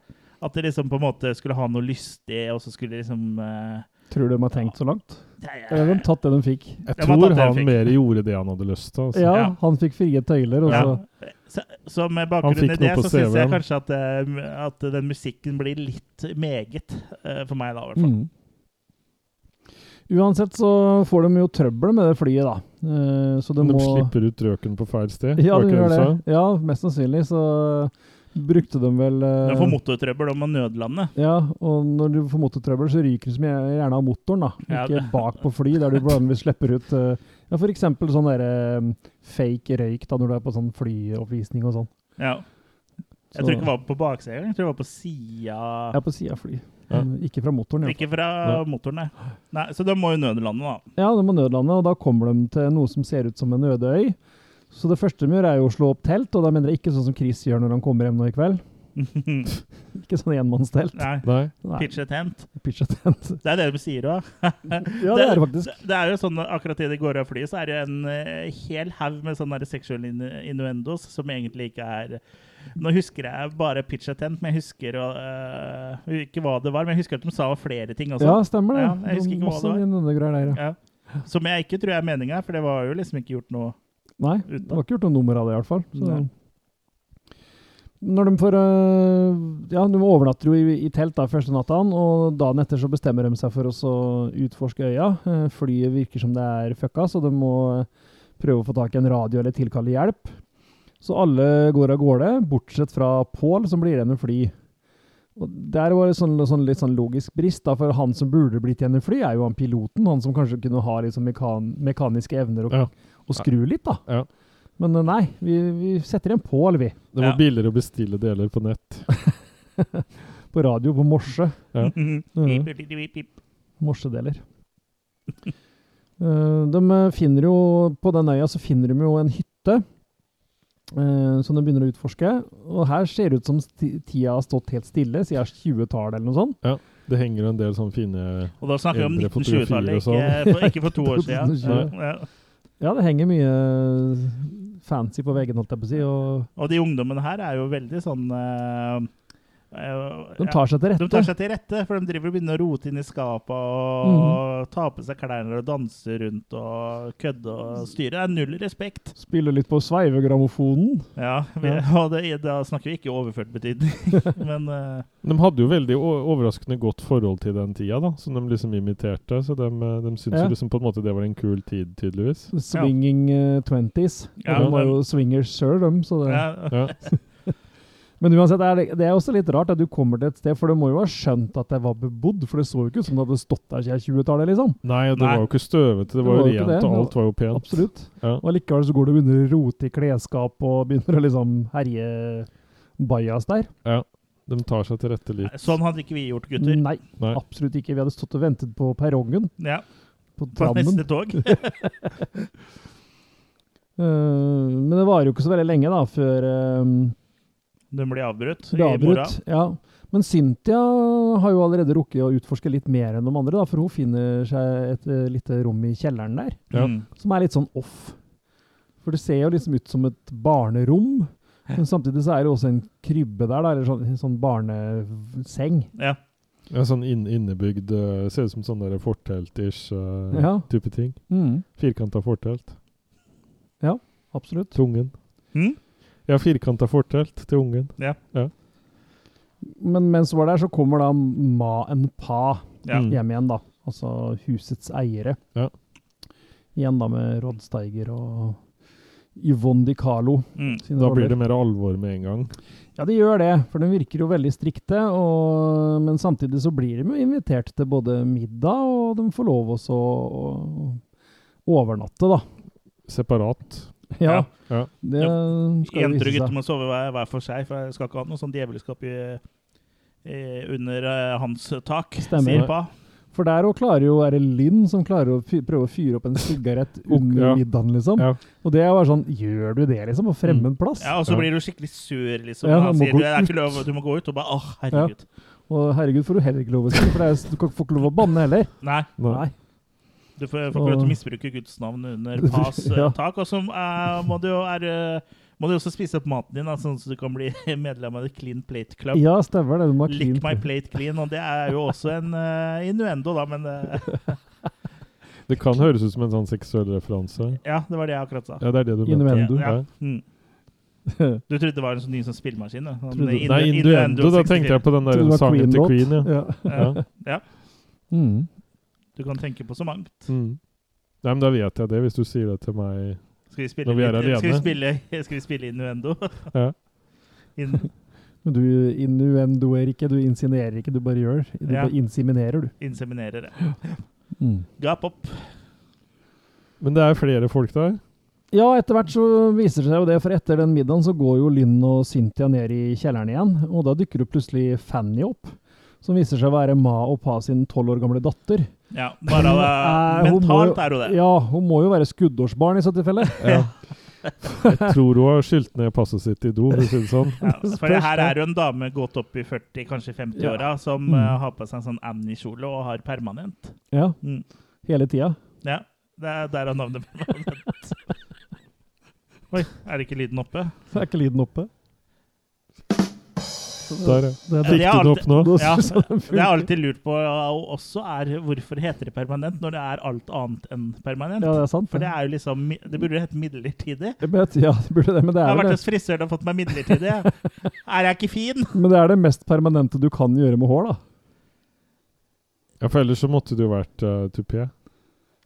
At det liksom på en måte skulle ha noe lystig, og så skulle liksom eh, Tror du de har tenkt så langt? det er- Eller har de tatt det de fikk? Jeg Det var tatt tror det jeg han fikk. mer gjorde det han hadde lyst til. Altså. Ja, Ja. han fikk frie tøyler, og Ja. så Så, så med Han bakgrunn fikk i det, noe på så syns jeg CV-en. kanskje at, eh, at den musikken blir litt meget eh, for meg, da, i hvert fall. Mm. Uansett så får de jo trøbbel med det flyet, da. Eh, Så de, De må slipper ut røken på feil sted. Ja, var de ikke gjør du det. sa? Ja, mest sannsynlig så brukte de vel eh, Den får motortrøbbel om å nødlande. Ja, og når du får motortrøbbel, så ryker du som gjer- gjerne av motoren, da. Ja, Ikke det- bak på fly, der du vanligvis slipper ut eh, ja, for eksempel sånn derre eh, fake røyk da, når du er på sånn flyoppvisning og sånn. Ja. Jeg Så- tror ikke det var på baksida engang. Jeg tror det var på sida Ja, på sida av fly. Ja. Men Ikke fra motoren, iallfall. Ikke fra motoren, nei. nei. Så de må jo nødlande, da. Ja, de må nødlande, og da kommer de til noe som ser ut som en øde øy. Så det første de gjør, er jo å slå opp telt, og da mener jeg ikke sånn som Chris gjør når han kommer hjem nå i kveld. Ikke sånn enmannstelt. nei. Nei. Nei, Pitch a tent. pitch a tent. Det er det de sier òg. Ja, det er det faktisk. Det er jo sånn akkurat idet de går av flyet, så er det en eh, hel haug med sånne der sexual in- innuendos som egentlig ikke er Nå husker jeg bare pitch a tent, men jeg husker eh, ikke hva det var. Men jeg husker at de sa flere ting også. Ja, stemmer det. Sånn Ja, jeg husker ikke hva Masse det var. nødegreier der, ja. Ja. Som jeg ikke tror er meninga, for det var jo liksom ikke gjort noe Nei, Uten. det var ikke gjort noe nummer av det i hvert fall. Så. Nei. Når de får øh, Ja, de overnatter jo i, i telt da første natta, og dagen etter så bestemmer de seg for å så utforske øya. Eh, Flyet virker som det er fucka, så de må eh, prøve å få tak i en radio eller tilkalle hjelp. Så alle går av gårde, bortsett fra Pål, som blir igjen med fly. Og der var det sånn, sånn, litt sånn logisk brist, da, for han som burde blitt igjen med fly, er jo han piloten. Han som kanskje kunne ha liksom mekan mekaniske evner og, Ja. og skru litt, da. Ja. Men eh, nei, vi, vi setter igjen Pål, vi. Det var Ja. billigere å bestille deler på nett. På radio på morse. Ja. Pip, pip, pip, pip. Morsedeler. Eh, de eh, finner jo På den øya så finner de jo en hytte eh, som de begynner å utforske. Og her ser det ut som sti- tida har stått helt stille siden 20-tallet eller noe sånt. Det henger jo en del sånne fine Og da snakker vi om Eldre fotografier 1920-tallet, og sånn. ikke, for- ikke for to år siden. 2020. Ja. Ja, det henger mye eh, fancy på veggen, holdt jeg på å si. Og Og de ungdommene her er jo veldig sånn eh, eh, de tar seg til ja, de tar rette. seg til rette, for de driver og begynner å rote inn i skapet og Mhm. ta på seg klærne og danse rundt og kødde og styre. Det er null respekt. Spiller litt på sveivegrammofonen. Ja, vi, Og det, da snakker vi ikke i overført betydning, men eh, De hadde jo veldig o- overraskende godt forhold til den tida, da, som de liksom imiterte. Så de, eh, de syntes Ja. jo liksom på en måte det var en kul tid, tydeligvis. Swinging eh, 20s. Ja, og de var men- jo swingers sjøl, de. Så det, ja, Ja. Men uansett, er det, det er også litt rart at du kommer til et sted, for du må jo ha skjønt at det var bebodd, for det så jo ikke ut som det hadde stått der siden 20-tallet, liksom. Nei, og det Nei. var jo ikke støvete, det var jo var jo ikke rent, det, og men- alt var jo pent. Absolutt. Ja. Og likevel så går du og begynner å rote i klesskap og begynner å liksom herje bajas der. De tar seg til rette litt. Sånn hadde ikke vi gjort, gutter. Nei, Nei. absolutt ikke. Vi hadde stått og ventet på perrongen Ja, på På trammen. neste tog. Eh, men det varer jo ikke så veldig lenge da, før eh, De blir avbrutt Det i mora. avbrutt. Ja. Men Cynthia har jo allerede rukket å utforske litt mer enn de andre, da, for hun finner seg et eh, lite rom i kjelleren der, Ja. Mm. som er litt sånn off. For det ser jo liksom ut som et barnerom, men samtidig så er det også en krybbe der, da, eller sånn, en sånn barneseng. Ja. Ja, sånn inn, innebygd eh, Ser ut som sånn der fortelt-ish eh, Ja. mm, type ting. Firkanta fortelt. absolutt. Til ungen. Hm? Ja, firkanta fortelt til ungen. Men mens hun var der, så kommer da Ma en Pa Ja. Mm. hjem igjen, da. Altså husets eiere. Ja. Igjen da med Rod Steiger og Yvonne Di Carlo. Mm. sine Da roller. blir det mer alvor med en gang. Ja, de gjør det, for de virker jo veldig strikte, og, men samtidig så blir de jo invitert til både middag, og de får lov også å å overnatte, da. Separat. Ja, Ja. det skal jo Jenter og vise gutter seg. må sove hver, hver for seg, for jeg skal ikke ha noe sånn djevelskap i, i, under eh, hans tak, Stemmer. sier pa. For der også klarer jo er det Linn som klarer å fy, prøve å fyre opp en sigarett under Ja. middagen, liksom. Ja. Og det var sånn Gjør du det, liksom? På fremmed plass? Ja, og så Ja. blir du skikkelig sur, liksom. Ja, han du må sier gå du, det er ut." ikke lov, du må gå ut, og bare åh, herregud. Og herregud, får du heller ikke lov å si, for det er, du kan ikke få lov å banne heller. Nei, Nei. du får, får ikke lov til Og- å misbruke Guds navn under pas eh, Ja. tak. Og så eh, må du jo er, eh, må du også spise opp maten din, da, sånn at du kan bli medlem av The Clean Plate Club. Ja, stemmer det. Du må ha Lick my clean plate clean, og det er jo også en eh, innuendo, da, men eh, Det kan høres ut som en sånn seksuell referanse. ja, det var det jeg akkurat sa. Ja, det er det du mener. Innuendo. Ja. Ja. Mm. Du trodde det var en sånn ny sånn spillemaskin? da? Sånn Trodde- innu- Nei, innuendo. Da 64. tenkte jeg på den der Trodde det var sangen til Queen-låt. Queen. Ja. Ja. Ja. Ja. Mm. Du kan tenke på så mangt. Mm. Nei, men da vet jeg det, hvis du sier det til meg. Skal vi spille, Når vi er litt- skal vi alene. spille, skal vi spille innuendo? Ja. In, Men du innuendoer ikke, du insinuerer ikke, du bare gjør. Du Ja. bare inseminerer, du. inseminerer det. Gap opp. Men det er flere folk der. Ja, etter hvert så viser det seg jo det, for etter den middagen så går jo Linn og Cynthia ned i kjelleren igjen, og da dukker jo plutselig Fanny opp, som viser seg å være Ma og Pa sin tolv år gamle datter. Ja, bare det, Eh, hun må mentalt jo- er hun det. Ja, hun må jo være skuddårsbarn i så tilfelle. Jeg tror hun har skylt ned passet sitt i do, for å si det sånn. Ja, for det her er jo en dame godt opp i 40, kanskje 50-åra, som Mm. eh, har på seg en sånn Annie-kjole og har permanent. Ja, Mm. hele tida. Ja, det er der er navnet permanent. Oi, er det ikke lyden oppe? Så er ikke lyden oppe. Så Der, ja. Det Fikk er du det opp alltid- nå? Ja, det jeg alltid lurt på ja, og også er hvorfor heter det permanent når det er alt annet enn permanent. Ja, det er sant, For det. det er jo liksom mi- Det burde jo hete midlertidig. Jeg vet- Ja, det burde det, men det er Jeg har vel det. vært hos frisøren og fått meg midlertidig. Er jeg ikke fin? Men det er det mest permanente du kan gjøre med hår, da. Ja, for ellers så måtte det jo vært uh, tupé.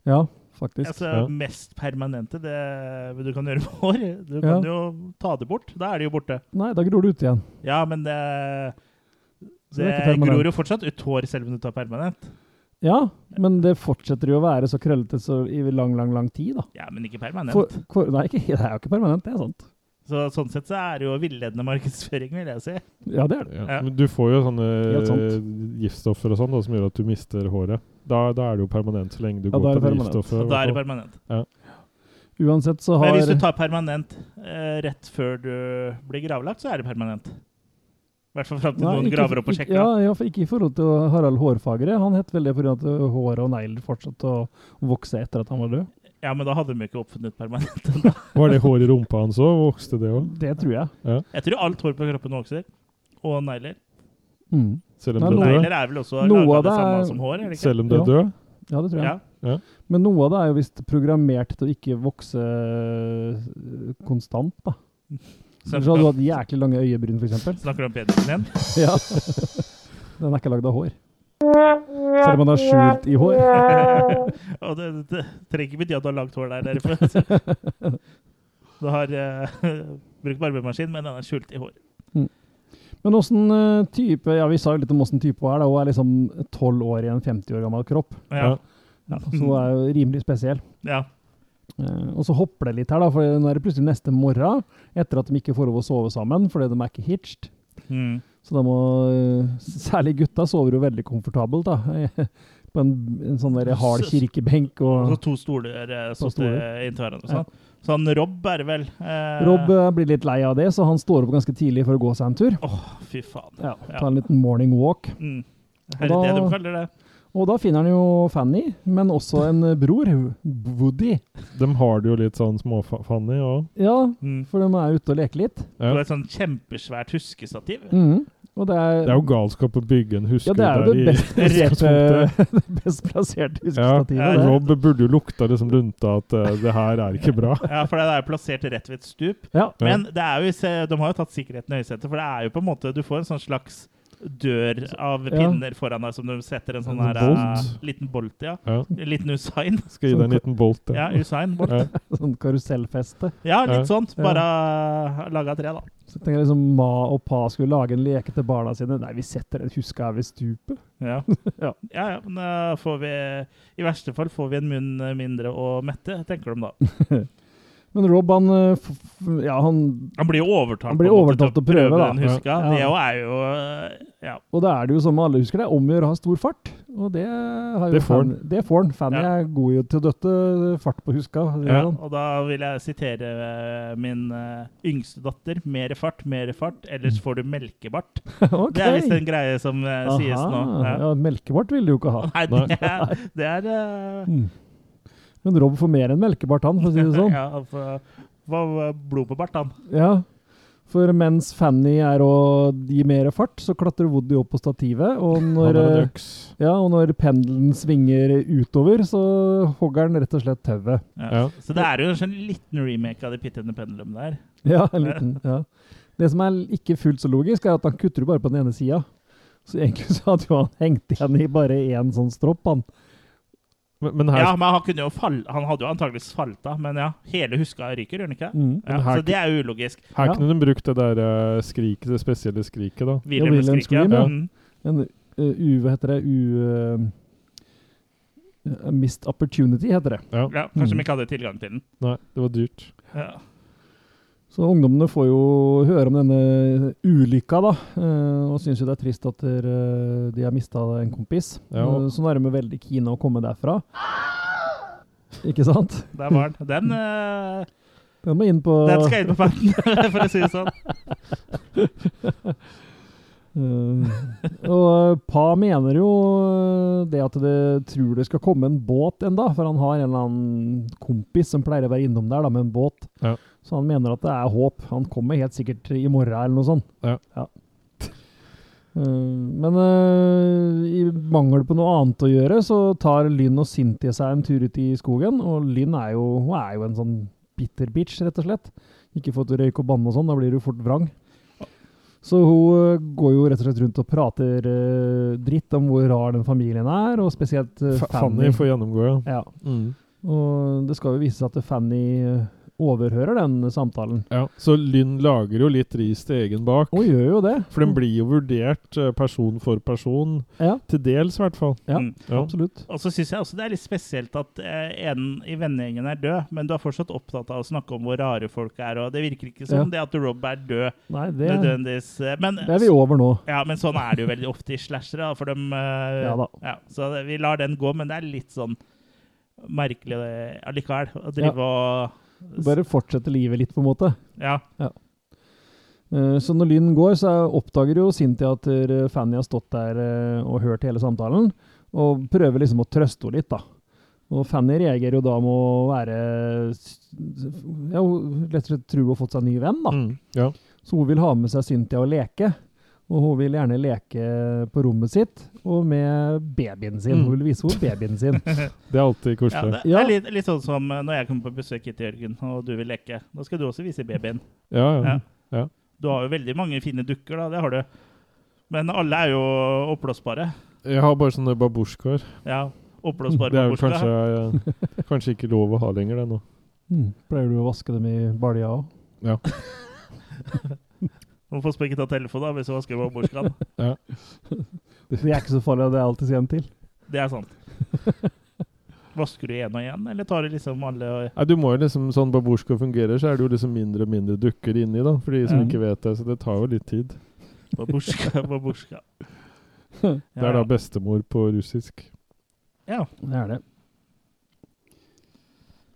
Ja, faktisk. Altså, Ja. Mest permanente det du kan gjøre med hår. Du Ja. kan jo ta det bort. Da er det jo borte. Nei, da gror det ut igjen. Ja, men det Så det Det er ikke permanent. gror jo fortsatt ut hår selv om du tar permanent. Ja, men det fortsetter jo å være så krøllete så i lang, lang, lang tid, da. Ja, men ikke permanent. For, for, nei, ikke, det er jo ikke permanent, det er sant. Så sånn sett så er det jo villedende markedsføring, vil jeg si. Ja, det er det. Ja. Ja. Men du får jo sånne Helt sant. eh, giftstoffer og sånn da, som gjør at du mister håret. Da, da er det jo permanent så lenge du Ja, da går er det på det permanent. giftstoffet. Så da er i det hvert fall. permanent. Uansett så har Men hvis du tar permanent eh, rett før du blir gravlagt, så er det permanent. I hvert fall fram til Nei, noen ikke- graver opp og ikke- sjekker. Ja, ja, for ikke i forhold til Harald Hårfagre. Han het vel det pga. at håret og negler fortsatte å vokse etter at han var død. Ja. men da hadde de jo ikke oppfunnet permanent. Var det hår i rumpa hans òg? Vokste det òg? Det tror jeg. Jeg tror alt hår på kroppen vokser. Og negler. Mm. Selv om Nei, det er død? Negler er vel også Noe laga av det det samme er- som hår? Er det ikke? Selv om det Ja. er død? Ja, det tror jeg. Ja. Men noe av det er jo visst programmert til å ikke vokse øh, konstant, da. Så hadde du Snakker, hatt jæklig lange øyebryn, f.eks. snakker du om penisen din? Ja. Den er ikke lagd av hår. Selv om den er skjult i hår. Og det, det, det trenger ikke bety at du har langt hår der. dere, for- sånn. Du har eh, brukt barbemaskin, men den er skjult i hår. Men åssen øh, type Ja, vi sa jo litt om åssen type hun er. da. Hun er liksom 12 år i en 50 år gammel kropp. Ja. Ja. Så hun er jo rimelig spesiell. ja. Eh, og så hopper det litt her, da, for nå er det plutselig neste morgen etter at de ikke får lov å sove sammen fordi de er ikke hitched. Mm. Så da må eh, Særlig gutta sover jo veldig komfortabelt, da. På en, en sånn der hard kirkebenk Og og så to stoler eh, To satt stoler. eh, inntil hverandre. Sånn. Så han Rob er det vel eh, Rob eh, blir litt lei av det, så han står opp ganske tidlig for å gå seg en tur. Fy faen. Ja, Ja. Ta en liten morning walk. Mm. Og Er det det da- de kaller det? Og da finner han jo Fanny, men også en eh, bror, Woody. De har det jo litt sånn småfanny òg. Ja, Mm. for de er ute og leker litt. Det Ja. var et sånn kjempesvært huskestativ. Mhm. Og det er, Det er jo galskap å bygge en huske ja, det er jo det der best plasserte, i det best plasserte huskestativet. Ja, det. Rob burde jo lukta liksom lunta at eh, det her er ikke bra. Ja, for det er plassert rett ved et stup. Ja. Men det er jo, se- de har jo tatt sikkerheten i høysetet, for det er jo på en måte Du får en sånn slags dør av Ja. pinner foran deg som du setter en sånn En her, bolt. eh, liten bolt ja. Ja. En liten Usain. Skal gi deg en liten bolt. det. Ja, Usain bolt. Ja. Sånn karusellfeste. Ja, litt sånt. Ja. Bare laga tre, da. Så jeg tenker liksom Ma og Pa skulle lage en leke til barna sine. Nei, vi setter et huske her ved stupet. Ja. ja, Ja. ja, men da får vi I verste fall får vi en munn eh, mindre å mette, tenker de da. Men Rob, han eh, f f- Ja, han Han blir jo overtalt, Han blir på en måte overtalt til å prøve, da. den huska. Ja. Det jo er jo øh, Ja. Og da er det jo som alle husker det, om å gjøre å ha stor fart. Og det har jo Det får Fan- Det får han. Fanny Ja. er god i å- til å døtte fart på huska. sier ja. han. Og da vil jeg sitere øh, min øh, yngste datter. Mere fart, mere fart, ellers får du melkebart. Ok. Det er visst en greie som øh, sies nå. Aha. Ja. Ja, melkebart ville du jo ikke ha. Nei, det er, det er øh, Mm. Men Rob får mer enn melkebart, han, for å si det sånn. Ja, for, for blod på bart, han. Ja, for mens Fanny er å gi mer fart, så klatrer Woody opp på stativet, og Han når, er en eh, øks. ja, og når pendelen svinger utover, så hogger han rett og slett tauet. Ja. Ja. Så det er jo en sånn liten remake av The Pit and the Pendulum der. Ja, en liten, ja. Det som er ikke fullt så logisk, er at han kutter jo bare på den ene sida. Så egentlig så hadde jo han hengt igjen i bare én sånn stropp, han. Men, men her Ja, men han, kunne jo fall, han hadde jo antakeligvis falt av, men ja. Hele huska ryker, gjør den ikke? Mm. Ja, Men her- så det er jo ulogisk. Her Ja. kunne de brukt det der eh, skriket, det spesielle skriket, da. Wilhelm Wilhelm skriker, Scream, ja. ja. Mm. En eh, U... Hva heter det? U... eh, missed opportunity, heter det. Ja. ja. Kanskje Mm. de ikke hadde tilgang til den. Nei, det var dyrt. Ja. Så ungdommene får jo høre om denne ulykka, da, eh, og syns jo det er trist at der, eh, de har mista en kompis. Ja. Eh, Så nå er de jo veldig keen å komme derfra. Ikke sant? Der var den. Den, eh, Den må inn på den skal inn på patten, for å si det sånn. eh, Og Pa mener jo eh, det at det tror det skal komme en båt enda, for han har en eller annen kompis som pleier å være innom der da, med en båt. Ja. Så han mener at det er håp. Han kommer helt sikkert i morgen eller noe sånt. Ja. Eh, Men eh, i mangel på noe annet å gjøre, så tar Lynn og Cynthia seg en tur ut i skogen. Og Lynn er jo, hun er jo en sånn bitter bitch, rett og slett. Ikke fått røyk og banne og sånn, da blir du fort vrang. Så hun eh, går jo rett og slett rundt og prater eh, dritt om hvor rar den familien er, og spesielt eh, Fa- Fanny. Fanny får gjennomgå, ja. Ja. Mm. Og det skal jo vise seg at Fanny eh, overhører den samtalen. ja. Så Lynn lager jo litt ris til egen bak. Hun gjør jo det. For den blir jo vurdert eh, person for person. Mm. Ja. Til dels, i hvert fall. Ja, Mm. Ja. absolutt. Og så syns jeg også det er litt spesielt at eh, en i vennegjengen er død, men du er fortsatt opptatt av å snakke om hvor rare folk er, og det virker ikke som Ja. det at Rob er død Nei, det, nødvendigvis. eh, Men, det er vi over nå. ja, men sånn er det jo veldig ofte i slashere, da, for dem eh, Ja da. Så det- vi lar den gå, men det er litt sånn merkelig eh, allikevel å drive og Bare fortsette livet litt, på en måte. Ja. Eh, Så når Lynn går, så er- oppdager jo Cynthia at eh, Fanny har stått der eh, og hørt hele samtalen, og prøver liksom å trøste henne litt, da. Og Fanny reagerer jo da med å være s- Ja, hun rett og slett tror hun har fått seg en ny venn, da. Mm. Ja. Så hun vil ha med seg Cynthia og leke. Og hun vil gjerne leke på rommet sitt og med babyen sin. Mm. Hun vil vise henne babyen sin. Det er alltid ja koselig. det Ja. er litt, litt sånn som eh, når jeg kommer på besøk hit til Jørgen, og du vil leke. Da skal du også vise babyen. Ja, ja. Ja. Du har jo veldig mange fine dukker, da. Det har du. Men alle er jo oppblåsbare. Jeg har bare sånne babusjkaer. Ja, oppblåsbare Det er vel babusjka. kanskje, eh, kanskje ikke lov å ha lenger, det nå. Mm. Pleier du å vaske dem i balja òg? Hvorfor skal jeg ikke ta telefonen da, hvis du vasker babusjkaen? Det er ikke så farlig, det er alltid en til. Det er sant. Vasker du igjen og igjen, eller tar du liksom alle og Nei, du må jo liksom, Sånn babusjka fungerer, så er det jo liksom mindre og mindre dukker inni, da. For de som Mm. Ja. ikke vet det. Så det tar jo litt tid. babusjka, babusjka? Det er da bestemor på russisk. Ja. Det er det.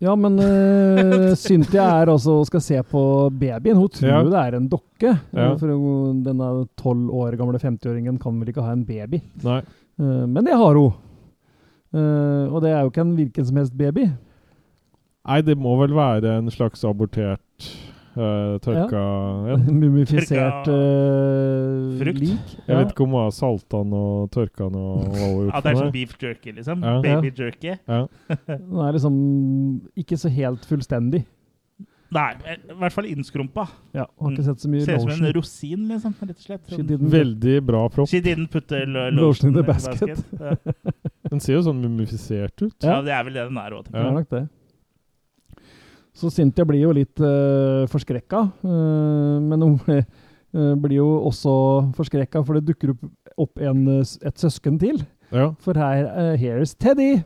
Ja, men eh, Cynthia er altså og skal se på babyen. Hun tror Ja. jo det er en dokke. Eh, Ja. For hun, denne tolv år gamle 50-åringen kan vel ikke ha en baby. Nei. Eh, men det har hun. Eh, og det er jo ikke en hvilken som helst baby. Nei, det må vel være en slags abortert eh, tørka en. Mumifisert eh, Frukt. lik. Jeg Ja. vet ikke om hun har salta den og tørka den og hva hun har ja, gjort det er med sånn beef jerky, liksom. Ja. Baby jerky. Ja. Den er liksom ikke så helt fullstendig. Nei, i hvert fall innskrumpa. Ja, Har ikke sett så mye Mm. Ser ut som en lotion. rosin, liksom, rett og slett. She Sånn- didn't- Veldig bra propp. She didn't put the lo- Lotion in the Ja. Den ser jo sånn mumifisert ut. ja, det er vel det den er òg. Det er nok det. Så Cynthia blir jo litt uh, forskrekka, eh, men hun eh, blir jo også forskrekka, for det dukker opp, opp en, eh, s- et søsken til. Ja, For her eh, Here's Teddy!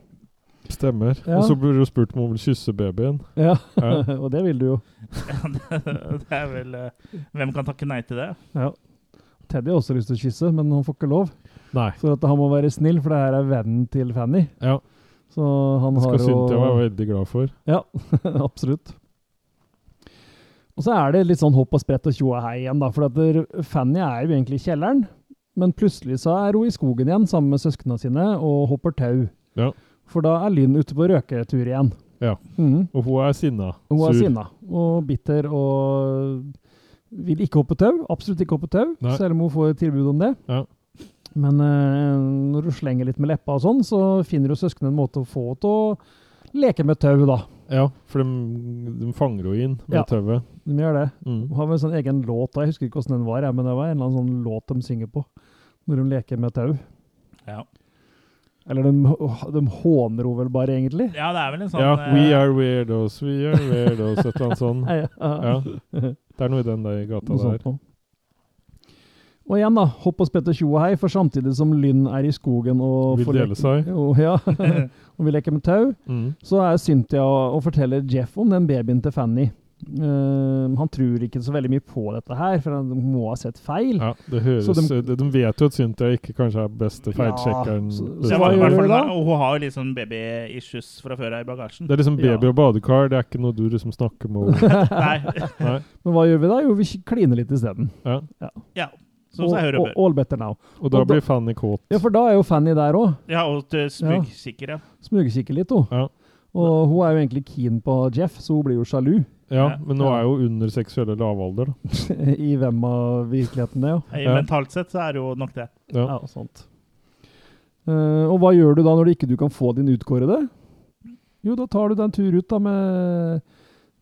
stemmer. Ja. Og så blir hun spurt om hun vil kysse babyen. Ja, Ja. og det vil du jo. det er vel eh, Hvem kan takke nei til det? Ja. Teddy har også lyst til å kysse, men han får ikke lov. Nei. For at han må være snill, for det her er vennen til Fanny. Ja, Så han det har skal jo Cynthia være veldig glad for. Ja, absolutt. Og så er det litt sånn hopp og sprett og tjo og hei igjen, da. For at der- Fanny er jo egentlig i kjelleren, men plutselig så er hun i skogen igjen sammen med søsknene sine og hopper tau. Ja. For da er Lynn ute på røketur igjen. Ja. Mhm. Og hun er sinna. Hun er Sur. sinna og bitter og vil ikke hoppe tau. Absolutt ikke hoppe tau, Nei. selv om hun får tilbud om det. Ja. Men eh, når hun slenger litt med leppa og sånn, så finner hun søsknene en måte å få henne til å leke med tau, da. Ja, for de, de fanger henne inn med Ja. tauet. De gjør det. Mm. Hun har vel en sånn egen låt, da. jeg husker ikke hvordan den var, jeg, men det var en eller annen sånn låt de synger på når de leker med tau. Ja. Eller de, de håner henne vel bare, egentlig. Ja, det er vel en sånn Ja, eh, We are weirdos, we are weirdos, et eller annet sånt. Nei, ja. Mm. Sånn. Ja. Det er noe i den der gata Noe der. sånt noe. Og igjen, da. Hopp og spett og tjo og hei, for samtidig som Lynn er i skogen og Vil får dele leke- seg. og, ja, og vil leke med tau, Mm. så er Cynthia og, og forteller Jeff om den babyen til Fanny. Eh, han tror ikke så veldig mye på dette her, for han må ha sett feil. Ja, det høres Så de, de- de vet jo at Cynthia ikke kanskje er beste feilsjekkeren. så- så Ja, hva i gjør hvert du fall da? da. Og hun har jo litt sånn baby-issues fra før av i bagasjen. det er liksom baby Ja. og badekar, det er ikke noe du liksom snakker med henne Nei, Nei. Men hva gjør vi da? Jo, vi kliner litt isteden. Ja. ja. Sånn Som seg hører og Og- bør. og- All better now. Og da Og da- blir Fanny kåt. Ja, for da er jo Fanny der òg. Ja, og til smugsikker, ja. Smugkikker litt, hun. Ja. Og hun er jo egentlig keen på Jeff, så hun blir jo sjalu. Ja, Ja. men nå er jo under seksuelle lavalder, da. I hvem av virkeligheten det, I Ja. Mentalt sett så er det jo nok det. ja. ja sant. Eh, og hva gjør du da når du ikke du kan få din utkårede? Jo, da tar du deg en tur ut da med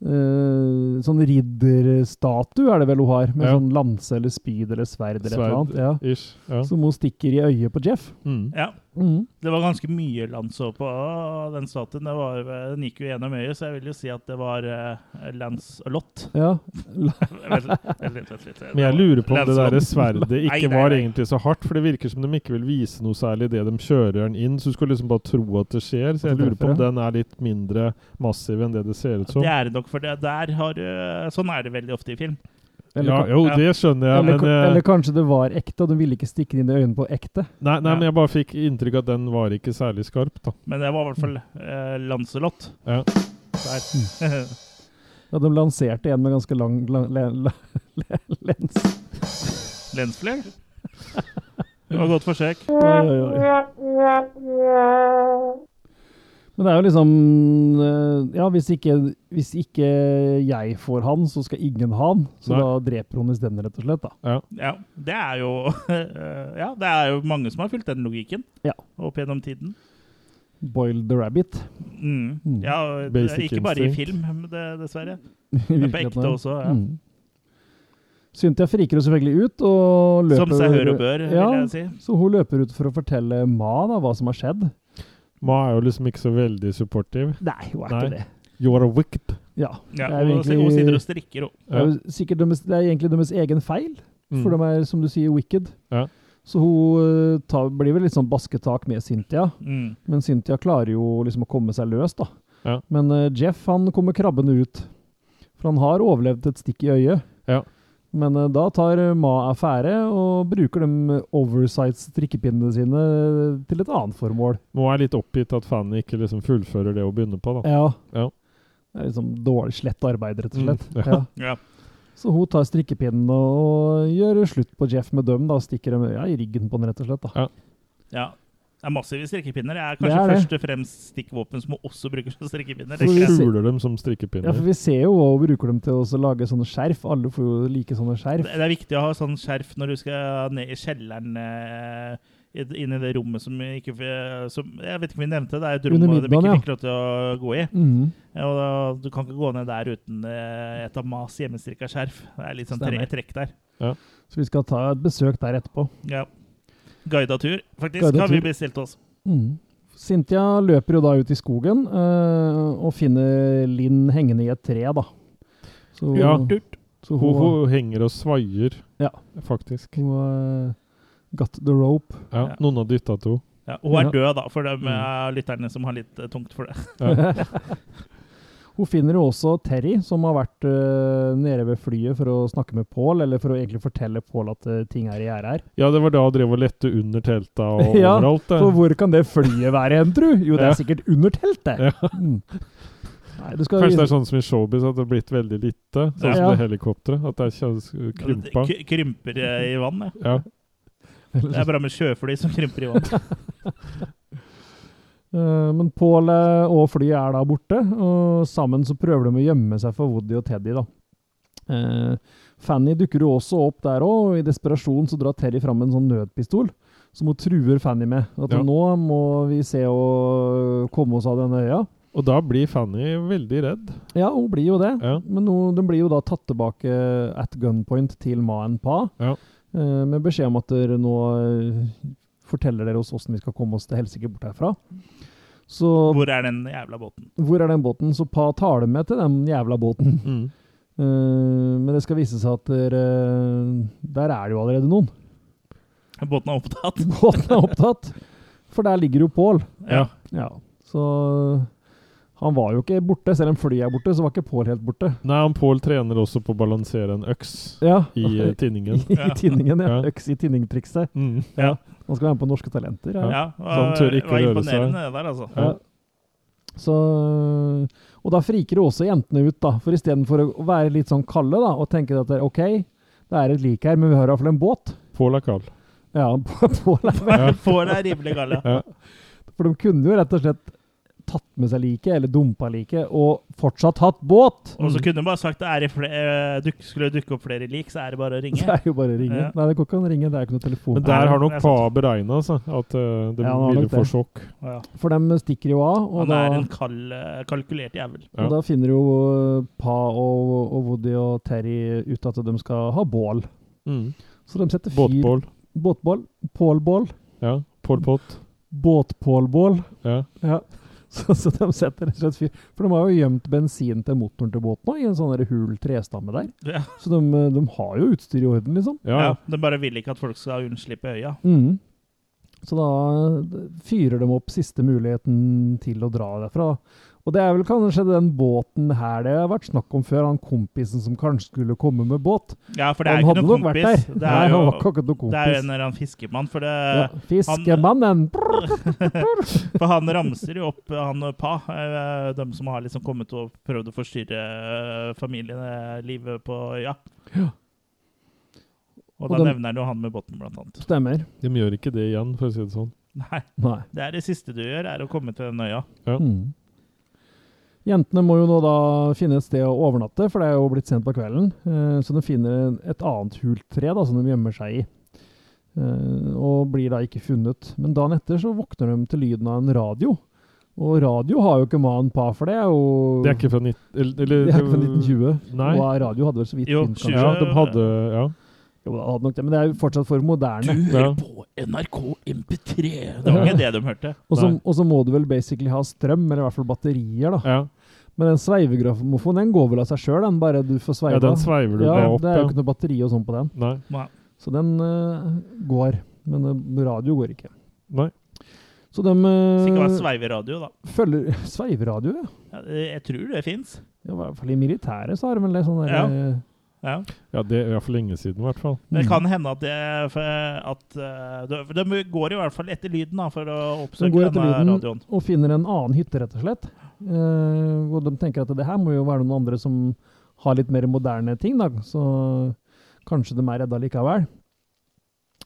eh, sånn ridderstatue, er det vel hun har? Med Ja. sånn lanse eller spyd eller sverd eller et eller annet. Ja. Ish. Ja. Som hun stikker i øyet på Jeff. Mm. Ja. Mhm. Det var ganske mye landsår på den statuen. Det var, den gikk jo gjennom øyet, så jeg vil jo si at det var eh, Lancelot. Ja. Vent litt, vent litt, vent litt. Men jeg lurer på om det Lancelot. der sverdet ikke Nei, nei, var nei. egentlig så hardt, for det virker som de ikke vil vise noe særlig idet de kjører den inn, så du skal liksom bare tro at det skjer. Så jeg lurer på om den er litt mindre massiv enn det det ser ut som. Det er det nok, for det der har eh, Sånn er det veldig ofte i film. Eller, Ja, ka- jo, Ja. det skjønner jeg, eller, men ka- eh, eller kanskje det var ekte, og de ville ikke stikke det inn i øynene på ekte. Nei, nei Ja. men jeg bare fikk inntrykk av at den var ikke særlig skarp, da. Men det var i hvert fall eh, Lancelot. Ja. Der. Ja, de lanserte en med ganske lang, lang le, le, le, lens. Lensflair. Det var et godt forsøk. Oi, oi, oi. Men det er jo liksom eh, Ja, hvis ikke, hvis ikke jeg får han, så skal ingen ha han. Så Nei. da dreper hun isteden, rett og slett. da. Ja, det er jo Ja, det er jo mange som har fulgt den logikken Ja. opp gjennom tiden. Boil the rabbit. Mm. Mm. Ja, og det, Basic ikke bare i instinct. film, men det, dessverre. i Men på virkeligheten ekte her. også. Ja. Mm. Cynthia friker jo selvfølgelig ut og løper Som seg hør og bør, Ja, vil jeg si. Så hun løper ut for å fortelle Ma da, hva som har skjedd. Ma er jo liksom ikke så veldig supportive. Nei, hun er Nei. ikke det. You are wicked. Ja, det Ja, er og jo Hun egentlig- sitter og strikker òg. det er jo sikkert deres, det er egentlig deres egen feil, Mm. for de er, som du sier, wicked. Ja. Så hun eh, tar, blir vel litt sånn basketak med Cynthia, Mm. men Cynthia klarer jo liksom å komme seg løs, da. Ja. Men eh, Jeff han kommer krabbende ut, for han har overlevd et stikk i øyet. Ja. Men eh, da tar Ma affære og bruker de oversights strikkepinnene sine til et annet formål. Nå er jeg litt oppgitt at Fanny ikke liksom fullfører det hun begynner på, da. Ja. Ja. Det er liksom dårlig slett arbeid, rett og Mm, slett. ja. Ja. Ja. Så hun tar strikkepinnen og gjør slutt på Jeff med dem, da, og stikker dem ja, i ryggen på den, rett og slett. da. ja. Det er massive strikkepinner. Det er Det kanskje er det. først og fremst stikkvåpen som også bruker som strikkepinner. For vi De Ikke? ser- kuler dem som Ja, strikkepinner. for Vi ser jo hva hun bruker dem til også å lage sånne skjerf. Alle får jo like sånne skjerf. Det er viktig å ha sånn skjerf når du skal ned i kjelleren. eh, i- Inn i det rommet som ikke f- som, Jeg vet ikke om vi nevnte det. Det er et rom Under de ikke middagen, fikk lov til å gå i. Mm. Mhm. Ja, Og da, du kan ikke gå ned der uten eh, et av Mas hjemmestrikka skjerf. Det er litt sånn tre Stemmer. trekk der. Så vi skal ta et besøk der etterpå. Ja. Guida tur, faktisk, Guidet har vi tur. bestilt oss. Mhm. Cynthia løper jo da ut i skogen eh, og finner Linn hengende i et tre, da. Så, Ja. så hun, Hun, hun henger og svaier, Ja. faktisk. hun eh, got the rope. Ja, Ja. Noen har dytta to. Ja, hun er Ja. død, da, for de Mm. eh, lytterne som har litt eh, tungt for det. Ja. Hun finner jo også Terry, som har vært eh, nede ved flyet for å snakke med Paul, eller for å egentlig fortelle Paul at eh, ting er i gjære her. ja, det var da hun drev og lette under telta og Ja, overalt. det. For hvor kan det flyet være hen, tru? Jo, det Ja. er sikkert under teltet! Mm. Nei, du skal Kanskje det er vise sånn som i showbiz, at det har blitt veldig lite. Sånn Ja. som det helikopteret. At det er kjø- krympa. K krymper eh, i vann. Ja. Ja. Det sånn. er bra med sjøfly som krymper i vann. Eh, Men Paul eh, og flyet er da borte, og sammen så prøver de å gjemme seg for Woody og Teddy, da. Eh, Fanny dukker jo også opp der òg, og i desperasjon så drar Terry fram en sånn nødpistol som hun truer Fanny med. At Ja. nå må vi se å komme oss av denne øya. Og da blir Fanny veldig redd. Ja, hun blir jo det. Ja. Men nå, den blir jo da tatt tilbake at gunpoint til Ma en Pa, Ja. eh, med beskjed om at dere nå eh, forteller dere oss åssen vi skal komme oss til helsike bort herfra. Så Hvor er den jævla båten? hvor er den båten? Så Pa tar dem med til den jævla båten. Mm. Eh, men det skal vise seg at dere, der er det jo allerede noen. Båten er opptatt. Båten er opptatt. For der ligger jo Pål. Ja. Ja. Så han var jo ikke borte. Selv om flyet er borte, så var ikke Pål helt borte. Nei, han Pål trener også på å balansere en øks Ja. i eh, tinningen. I tinningen, ja. Ja. Øks i tinningtrikset. Mm. Han skal være med på Norske Talenter. Ja. Ja, Så han tør det ikke var røre imponerende det der, altså. Ja. Så, og da friker jo også jentene ut, da. For istedenfor å være litt sånn kalde da, og tenke at det er OK, det er et lik her, men vi har i hvert fall en båt. Pål er kald. Ja, Pål er Får deg rimelig galla. For de kunne jo rett og slett tatt med seg liket, eller dumpa liket, og fortsatt hatt båt. Mm. Og så kunne du bare sagt det er i fle eh, duk skulle det dukke opp flere lik, så er det bare å Det ringe. er jo bare å ringe. Ja. Nei, det går ikke an å ringe. Det er ikke noe telefon. Men der har nok det er Pa beregna altså, at eh, det Ja, han har ville nok få det. sjokk. Ja. For de stikker jo av, og Han da, er en kald, eh, kalkulert jævel. Ja. og da finner jo eh, Pa og, og Woody og Terry ut at de skal ha bål. Mm. Så de setter fyr Båtbål. Båtbål. Pålbål. Ja. Pol Pot. Båtpålbål. Ja. Ja. Så, så de setter rett og slett fyr. For de har jo gjemt bensin til motoren til båten også, i en sånn der hul trestamme der. Ja. Så de, eh, de har jo utstyr i orden, liksom. Ja, Ja. ja. De bare vil ikke at folk skal unnslippe øya. Mhm. Så da eh, fyrer de opp siste muligheten til å dra derfra. da. Og det er vel kanskje den båten her det har vært snakk om før, han kompisen som kanskje skulle komme med båt. Ja, for det er Han ikke hadde noen nok vært der. kompis. Det Nei, er han jo var ikke noen det er jo kompis. en eh, eller annen fiskemann, for, det, Ja, fiskemannen! for han ramser jo opp eh, han og pa, eh, de som har liksom kommet og prøvd å forstyrre eh, familielivet på øya. Og da Og dem- nevner han jo han med båten, blant annet. Stemmer. De gjør ikke det igjen, for å si det sånn. Nei, Nei. det er det siste du gjør, er å komme til den øya. Mm. Jentene må jo nå da finne et sted å overnatte, for det er jo blitt sent på kvelden. Eh, Så de finner et annet hult tre da, som de gjemmer seg i. Eh, Og blir da ikke funnet. Men dagen etter så våkner de til lyden av en radio. Og radio har jo ikke man pa, for det er jo Det er ikke fra 19... Eller, det eller er ikke fra 1920. Nei. Og radio hadde vel så vidt Jo, begynt, kanskje. 20. Ja, de hadde Ja. Jo, det hadde nok det, men det er jo fortsatt for moderne. ja. på NRK MP3! Det var ikke det de hørte. Og så- Nei. og så må du vel basically ha strøm, eller i hvert fall batterier, da. ja. Men den sveivegrammofonen den går vel av seg sjøl, den bare du får sveiva. ja den sveiver du ja, bare opp. det er jo Ja. ikke noe batteri og sånn på den. Nei. Så den eh, går. Men eh, radio går ikke. Nei. Så de Så ikke være uh, sveiveradio, da. følger Sveiveradio, ja. Ja, det- Jeg tror det fins. ja. I hvert fall i militæret så har de vel det sånn der Ja. eh, Ja. Ja, det er for lenge siden, i hvert fall. Det Mm. kan hende at, det, for- at eh, de, for de går i hvert fall etter lyden da, for De å oppsøke går etter denne lyden radioen. og finner en annen hytte, rett og slett. Eh, og de tenker at det her må jo være noen andre som har litt mer moderne ting, da. Så kanskje de er redda likevel.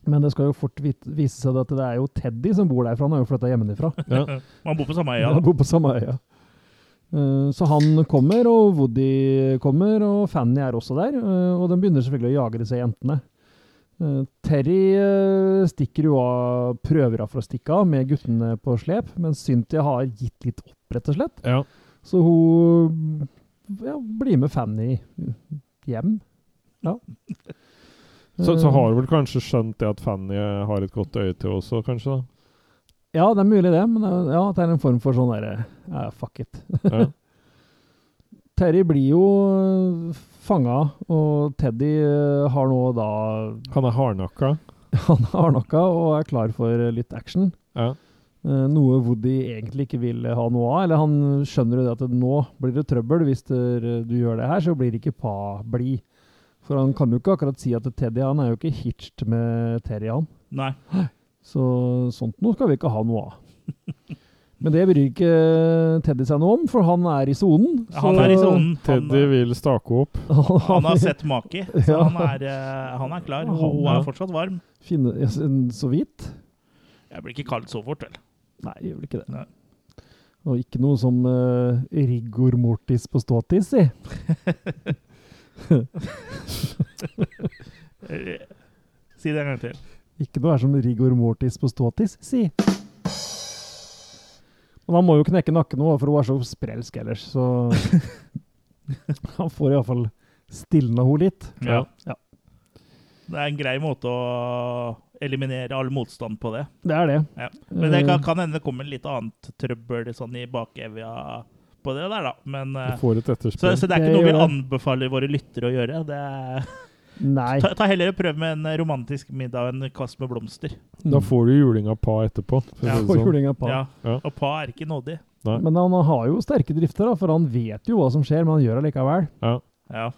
Men det skal jo fort vit- vise seg at det er jo Teddy som bor der, for han har jo flytta hjemmefra. Man bor på samme øya. Han da. bor på samme øya. Eh, Så han kommer, og Woody kommer, og Fanny er også der. eh, Og de begynner selvfølgelig å jage disse jentene. Eh, Terry eh, stikker jo av, prøver av for å stikke av med guttene på slep, men Cynthia har gitt litt opp, rett og slett. Ja. Så hun ja, blir med Fanny hjem. Ja. Så, så Eh, har du vel kanskje skjønt det at Fanny eh, har et godt øye til også, kanskje? da? Ja, det er mulig det, men det er- ja, det er en form for sånn derre ja, fuck it. Ja. Terry blir jo fanga, og Teddy eh, har nå da Han er hardnakka. Han har nokka og er klar for eh, litt action. Ja. Eh, Noe Woody egentlig ikke vil ha noe av. Eller han skjønner jo det at nå blir det trøbbel hvis der, eh, du gjør det her, så blir ikke Pa blid. For han kan jo ikke akkurat si at Teddy han er jo ikke hitched med Terry, han. Nei. Så sånt noe skal vi ikke ha noe av. Men det bryr ikke Teddy seg noe om, for han er i sonen. Han så- er i sonen. Han, Teddy vil stake opp. han har sett Maki, så Ja. han er, eh, han er klar. Og hun Ja. er fortsatt varm. Finne, ja, s- så vidt? Jeg blir ikke kald så fort, vel. Nei, jeg gjør vel ikke det. Nei. Og ikke noe som eh, rigor mortis på ståtis, si. Eh, Si det en gang til. Ikke noe er som rigor mortis på ståtis, si. Men han må jo knekke nakken nå, for hun er så sprelsk ellers, så Han får iallfall stilna henne litt. Ja. Ja. Det er en grei måte å eliminere all motstand på det. Det er det. Ja. Men det kan, Eh, kan hende det kommer litt annet trøbbel sånn i bakevja på det der, da. Men eh, Du får et Så, etterspill. så det er Det ikke noe vi gjør det. anbefaler våre lyttere å gjøre. Det er, Eh, Nei. ta, ta heller og prøv med en romantisk middag og en kvast med blomster. Da får du juling av pa etterpå. For Ja. å si Får det sånn. juling av pa. Ja. Ja. Og pa er ikke nådig. Nei. Men han har jo sterke drifter, da, for han vet jo hva som skjer, men han gjør det likevel. Ja. Ja,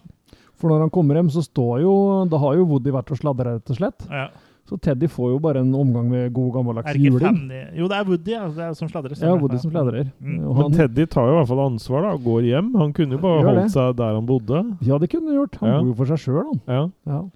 For når han kommer hjem, så står jo Da har jo Woody vært og sladra, rett og slett. ja. Så Teddy får jo bare en omgang med god gammeldags Er ikke juling. Fanny Jo, det er Woody ja, det er som sladrer. Ja, stemmer. Woody som sladrer. Mm. Og Men han, Teddy tar jo i hvert fall ansvar da, og går hjem. Han kunne jo bare Gjør holdt det. seg der han bodde. ja, det kunne han gjort. Han Ja. bor jo for seg sjøl, han. Ja. Ja.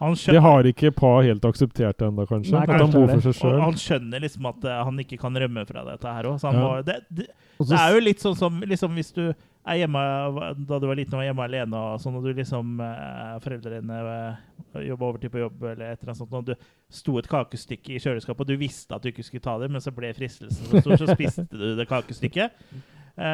Han skjønner- Det har ikke Pa helt akseptert ennå, kanskje. Nei, at han kanskje bor det. for seg Og sjøl. han skjønner liksom at eh, han ikke kan rømme fra dette her òg. Så han Ja. må, det, det, Og så det er jo litt sånn som liksom, hvis du er hjemme da du var liten og var hjemme alene, og sånn, og du liksom eh, foreldrene eh, jobba overtid på jobb eller et eller annet sånt, og du sto et kakestykke i kjøleskapet, og du visste at du ikke skulle ta det, men så ble fristelsen så stor, så spiste du det kakestykket. Eh,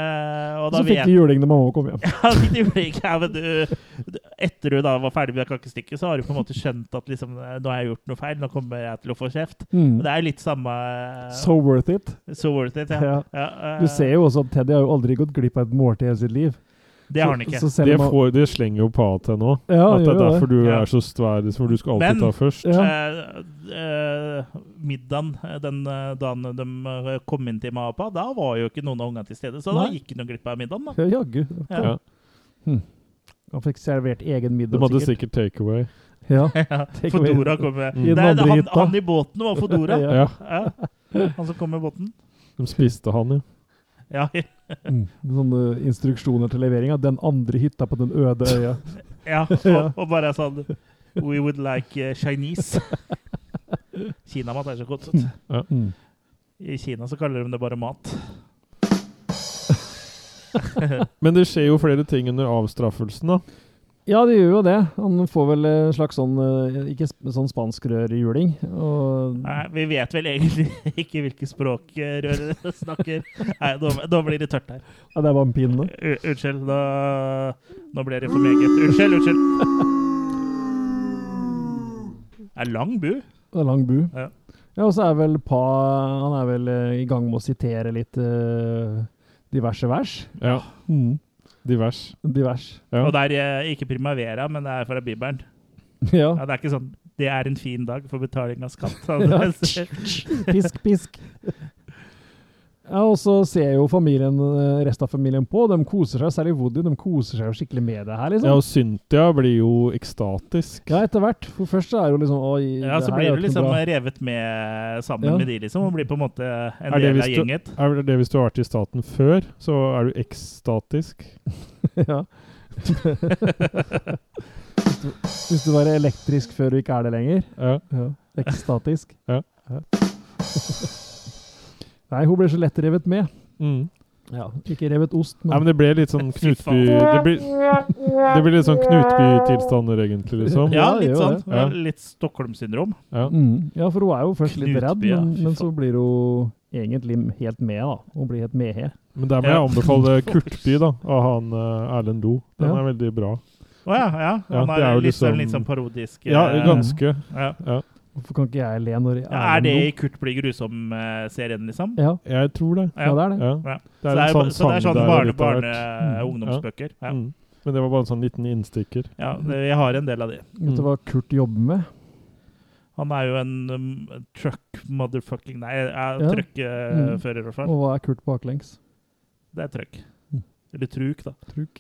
og da så fikk vet de juling da mamma kom hjem. ja, det gjorde jeg ikke, ja, men du, du- etter du da var ferdig med det kakestykket, så har du på en måte skjønt at liksom, eh, nå har jeg gjort noe feil, nå kommer jeg til å få kjeft. Og Mm. Det er jo litt samme eh, So worth it. so worth it. Ja. Ja. Ja, eh, Du ser jo også at Teddy har jo aldri gått glipp av et måltid i hele sitt liv. det har han ikke. Så, så selv Det, om han, får, det slenger jo Pa til nå. ja, at det er gjør jo derfor du Ja. er så svær, for du skal Men- alltid ta først. Ja. Eh, eh, middagen eh, den eh, dagen de eh, kom inn til Mapa, da var jo ikke noen av ungene til stede, så da Nei. gikk han jo glipp av middagen. da. Ja, Jaggu. Ja. Ja. Han fikk servert egen De middag, hadde sikkert Mm. takeaway. Ja. Ja, Take away. Fodora kom med. Mm. Det, I den er- andre han, hytta. han i båten var Fodora. Ja. Ja. Ja. Han som kom med båten. De spiste han, jo. Ja, Mm. Sånne instruksjoner til levering av den andre hytta på den øde øya. Ja, og, og bare sånn We would like eh, Chinese. Kinamat er så godt. vet du. Mm. I Kina så kaller de det bare mat. Men det skjer jo flere ting under avstraffelsen, da. Ja, det gjør jo det. Han får vel eh, en slags sånn eh, Ikke sp- sånn spansk rørjuling. Og Nei, vi vet vel egentlig ikke hvilke språk eh, røret snakker. Nei, nå, nå blir det tørt her. ja, det var en pinne. U unnskyld. Nå, nå ble det for meget. Unnskyld, unnskyld. Det er lang bu. Det er lang bu. Ja. Ja, og så er vel Pa Han er vel eh, i gang med å sitere litt eh, diverse vers. Ja. Mm. Divers. Divers. Ja. Og det er eh, ikke primavera, men det er fra Bibelen. Ja. Ja, det er ikke sånn 'Det er en fin dag for betaling av skatt'. Ja. Pisk, pisk. Ja, og så ser jo familien, eh, resten av familien på. De koser seg, særlig Woody. De koser seg jo skikkelig med det her, Ja, liksom. og Cynthia blir jo ekstatisk. Ja, etter hvert. For først så er jo liksom Oi, Ja, her så blir er jo ikke du noe liksom bra. revet med sammen Ja. med de, liksom. Og blir på en måte en Er det del av hvis du- gjenget. Er det det hvis du har vært i staten før, så er du ekstatisk? ja. Hvis du- Hvis du var elektrisk før du ikke er det lenger. Ja. Ja. Ekstatisk. Ja. Nei, hun ble så lett revet med. Mm. Ja. Ikke revet ost, men, Nei, men det ble litt sånn Fy Knutby Det blir, det blir litt sånn Knutby-tilstander, egentlig, liksom. Ja, Ja, det litt gjør sånn. det. Ja, Ja. Litt Stockholm-syndrom. Ja. Mm. Ja, for hun er jo først litt Knutby, redd, ja. men, Fy men faen. så blir hun egentlig helt med, da. Hun blir helt medhe. Men der må jeg Ja. anbefale Kurtby, da, av han eh, Erlend Loe. Den Ja. er veldig bra. Å ja, ja. Ja, Han det er er jo litt sånn, liksom- litt sånn parodisk. Ja, eh, ganske. ja. Hvorfor kan ikke jeg le når jeg Ja, Er det i Kurt blir grusom-serien, liksom? Ja. Jeg tror det. ja, det er det. Ja. Ja. Det Så er det er, en sånn sånn så det er sang sånn der og litt av hvert. barne-ungdomsbøker. Ja. Mm. Men det var bare en sånn liten innstikker. Ja, det- jeg har en del av de. Vet du hva Kurt jobber med? Han er jo en um, truck motherfucking Nei, ja. Ja. Mm. truckfører, i hvert fall. Og hva er Kurt baklengs? Det er truck. Mm. Eller truk, da. Truk.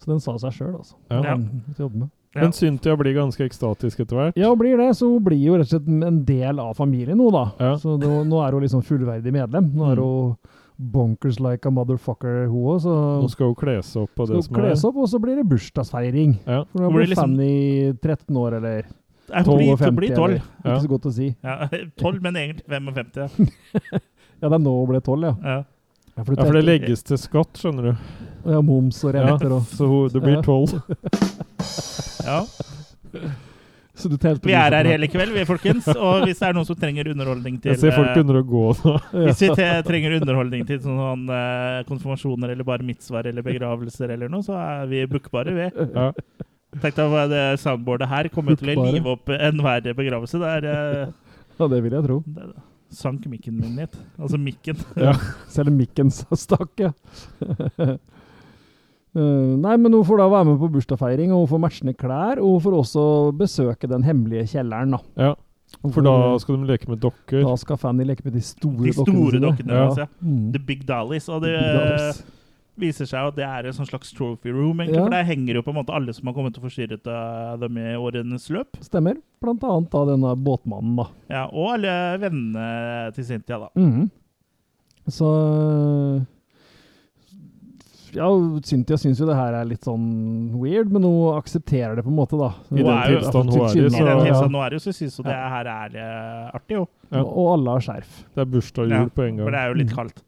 Så den sa seg sjøl, altså. Ja. Hva han jobber med. Ja. Men Cynthia blir ganske ekstatisk etter hvert. Ja, hun blir det. Så hun blir jo rett og slett en del av familien nå, da. Ja. Så nå, nå er hun liksom fullverdig medlem. Nå er hun bonkers like a motherfucker, hun òg. Så Nå skal hun kle seg opp på skal det hun som er. kles opp, og så blir det bursdagsfeiring. Ja. For hun Hun blir blir liksom- Fanny 13 år, eller Nei, 12 Hun og 50. blir tolv. eller- Ikke så godt å si. Ja, 12, men egentlig 55. Ja, det er nå hun ble 12, ja. Ja. Ja, Ja, for det legges til skatt, skjønner du. ja, moms og Ja, renter og så hun, det blir Ja. tolv. Ja. Så du telte Vi sånn er her hele kveld, vi, folkens. Og hvis det er noen som trenger underholdning til Jeg ser folk eh, begynner å gå nå. Hvis vi te- trenger underholdning til sånn eh, konfirmasjoner eller bar mitzvaer eller begravelser eller noe, så er vi bookbare, vi. Ja. Tenk deg hva det soundboardet her kommer til å Bookbare. live opp enhver begravelse. Det er eh, Ja, det vil jeg tro. det- Sank mikken min litt. Altså mikken. Selv mikken sa stakk, ja. Eh, nei, men hun får da være med på bursdagsfeiring, og hun får matchende klær, og hun får også besøke den hemmelige kjelleren, da. Ja, Hun For da får- skal de leke med dokker. da skal Fanny leke med de store, De store dokkene. dokkene. Ja. Altså. Mm. The Big Dollies. Og det eh, Dolls. viser seg jo at det er en sånn slags trophy room, egentlig. Ja. For der henger jo på en måte alle som har kommet og forstyrret eh, dem i årenes løp. Stemmer. Blant annet da denne båtmannen, da. Ja, og alle Mhm. vennene til Cynthia, da. Mhm. Så ja, Cynthia syns jo det her er litt sånn weird, men hun aksepterer det på en måte, da. I den Hun er jo- tilstand hun er i, tilsynelatende- så- I den ja. tilstanden nå er det jo, så syns hun det her er eh, artig, jo. Ja. Og og alle har skjerf. Det er bursdag og jul Ja, på en gang. For det er jo Mm. litt kaldt.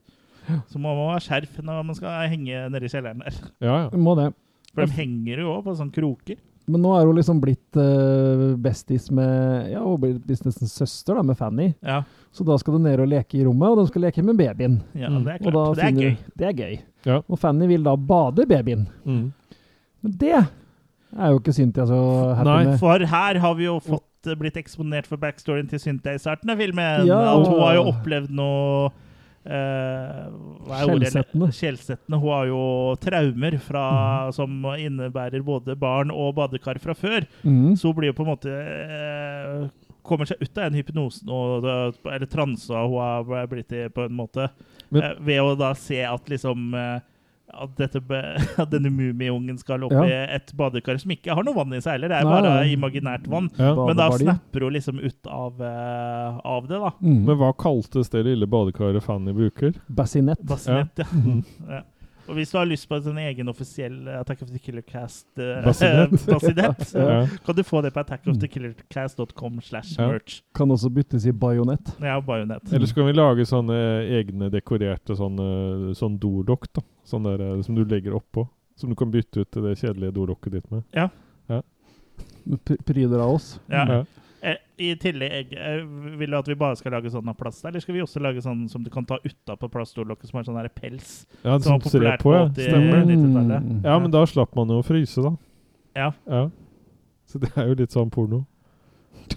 Så man må ha skjerf når man skal henge nede i kjelleren der. Ja, ja. Må det. For de henger jo også på sånne kroker. Men nå er hun liksom blitt eh, besties med Ja, hun blir blir nesten søster da, med Fanny. Ja, Så da skal de ned og leke i rommet, og de skal leke med babyen. ja Mm. det er Og da klart. Det er finner- gøy. Det er gøy. Ja. Og Fanny vil da bade babyen. Mm. Men det er jo ikke Cynthia så happy Nei, med. For her har vi jo fått eh, blitt eksponert for backstoryen til Synthia i starten av filmen. Ja. At hun har jo opplevd noe eh, hva er ordet? Skjellsettende. Mm. Skjellsettende. Hun har jo traumer fra, som innebærer både barn og badekar fra før. Mm. Så hun blir jo på en måte eh, Kommer seg ut av den hypnosen og, eller transa hun har blitt i, på en måte. Men- eh, ved å da se at liksom eh, at, dette, be- at denne mumieungen skal opp Ja. i et badekar som ikke har noe vann i seg heller. Det er Nei. bare imaginært vann. Ja. Men da Badebalje. snapper hun liksom ut av, eh, av det, da. Mm. Men hva kaltes det lille badekaret Fanny bruker? Bassinett. Bassinett, ja. ja. Og hvis du har lyst på en sånn egen offisiell eh, Attack of the Killer Cast eh, Bassinett. bassinett, så Ja. kan du få det på attackofthekillercast.com slash Ja. merch. Kan også byttes i bajonett. Ja, bajonett. Eller så kan vi lage sånne egne dekorerte sånne, sånn dolokk, da. Sånn der, eh, som du legger oppå. Som du kan bytte ut det kjedelige dolokket ditt med. P- Pryder av oss. Ja. Ja. Eh, I tillegg, eh, vil du at vi bare skal lage sånn av plast, eller skal vi også lage sånn som du kan ta utapå plaststolokket, som har sånn der pels? Ja, Som som var ser populært på, ja. på åtti- Stemmer. Mm. 90-tallet. Mm. Ja, men da slapp man jo å fryse, da. Ja. ja. Så det er jo litt sånn porno.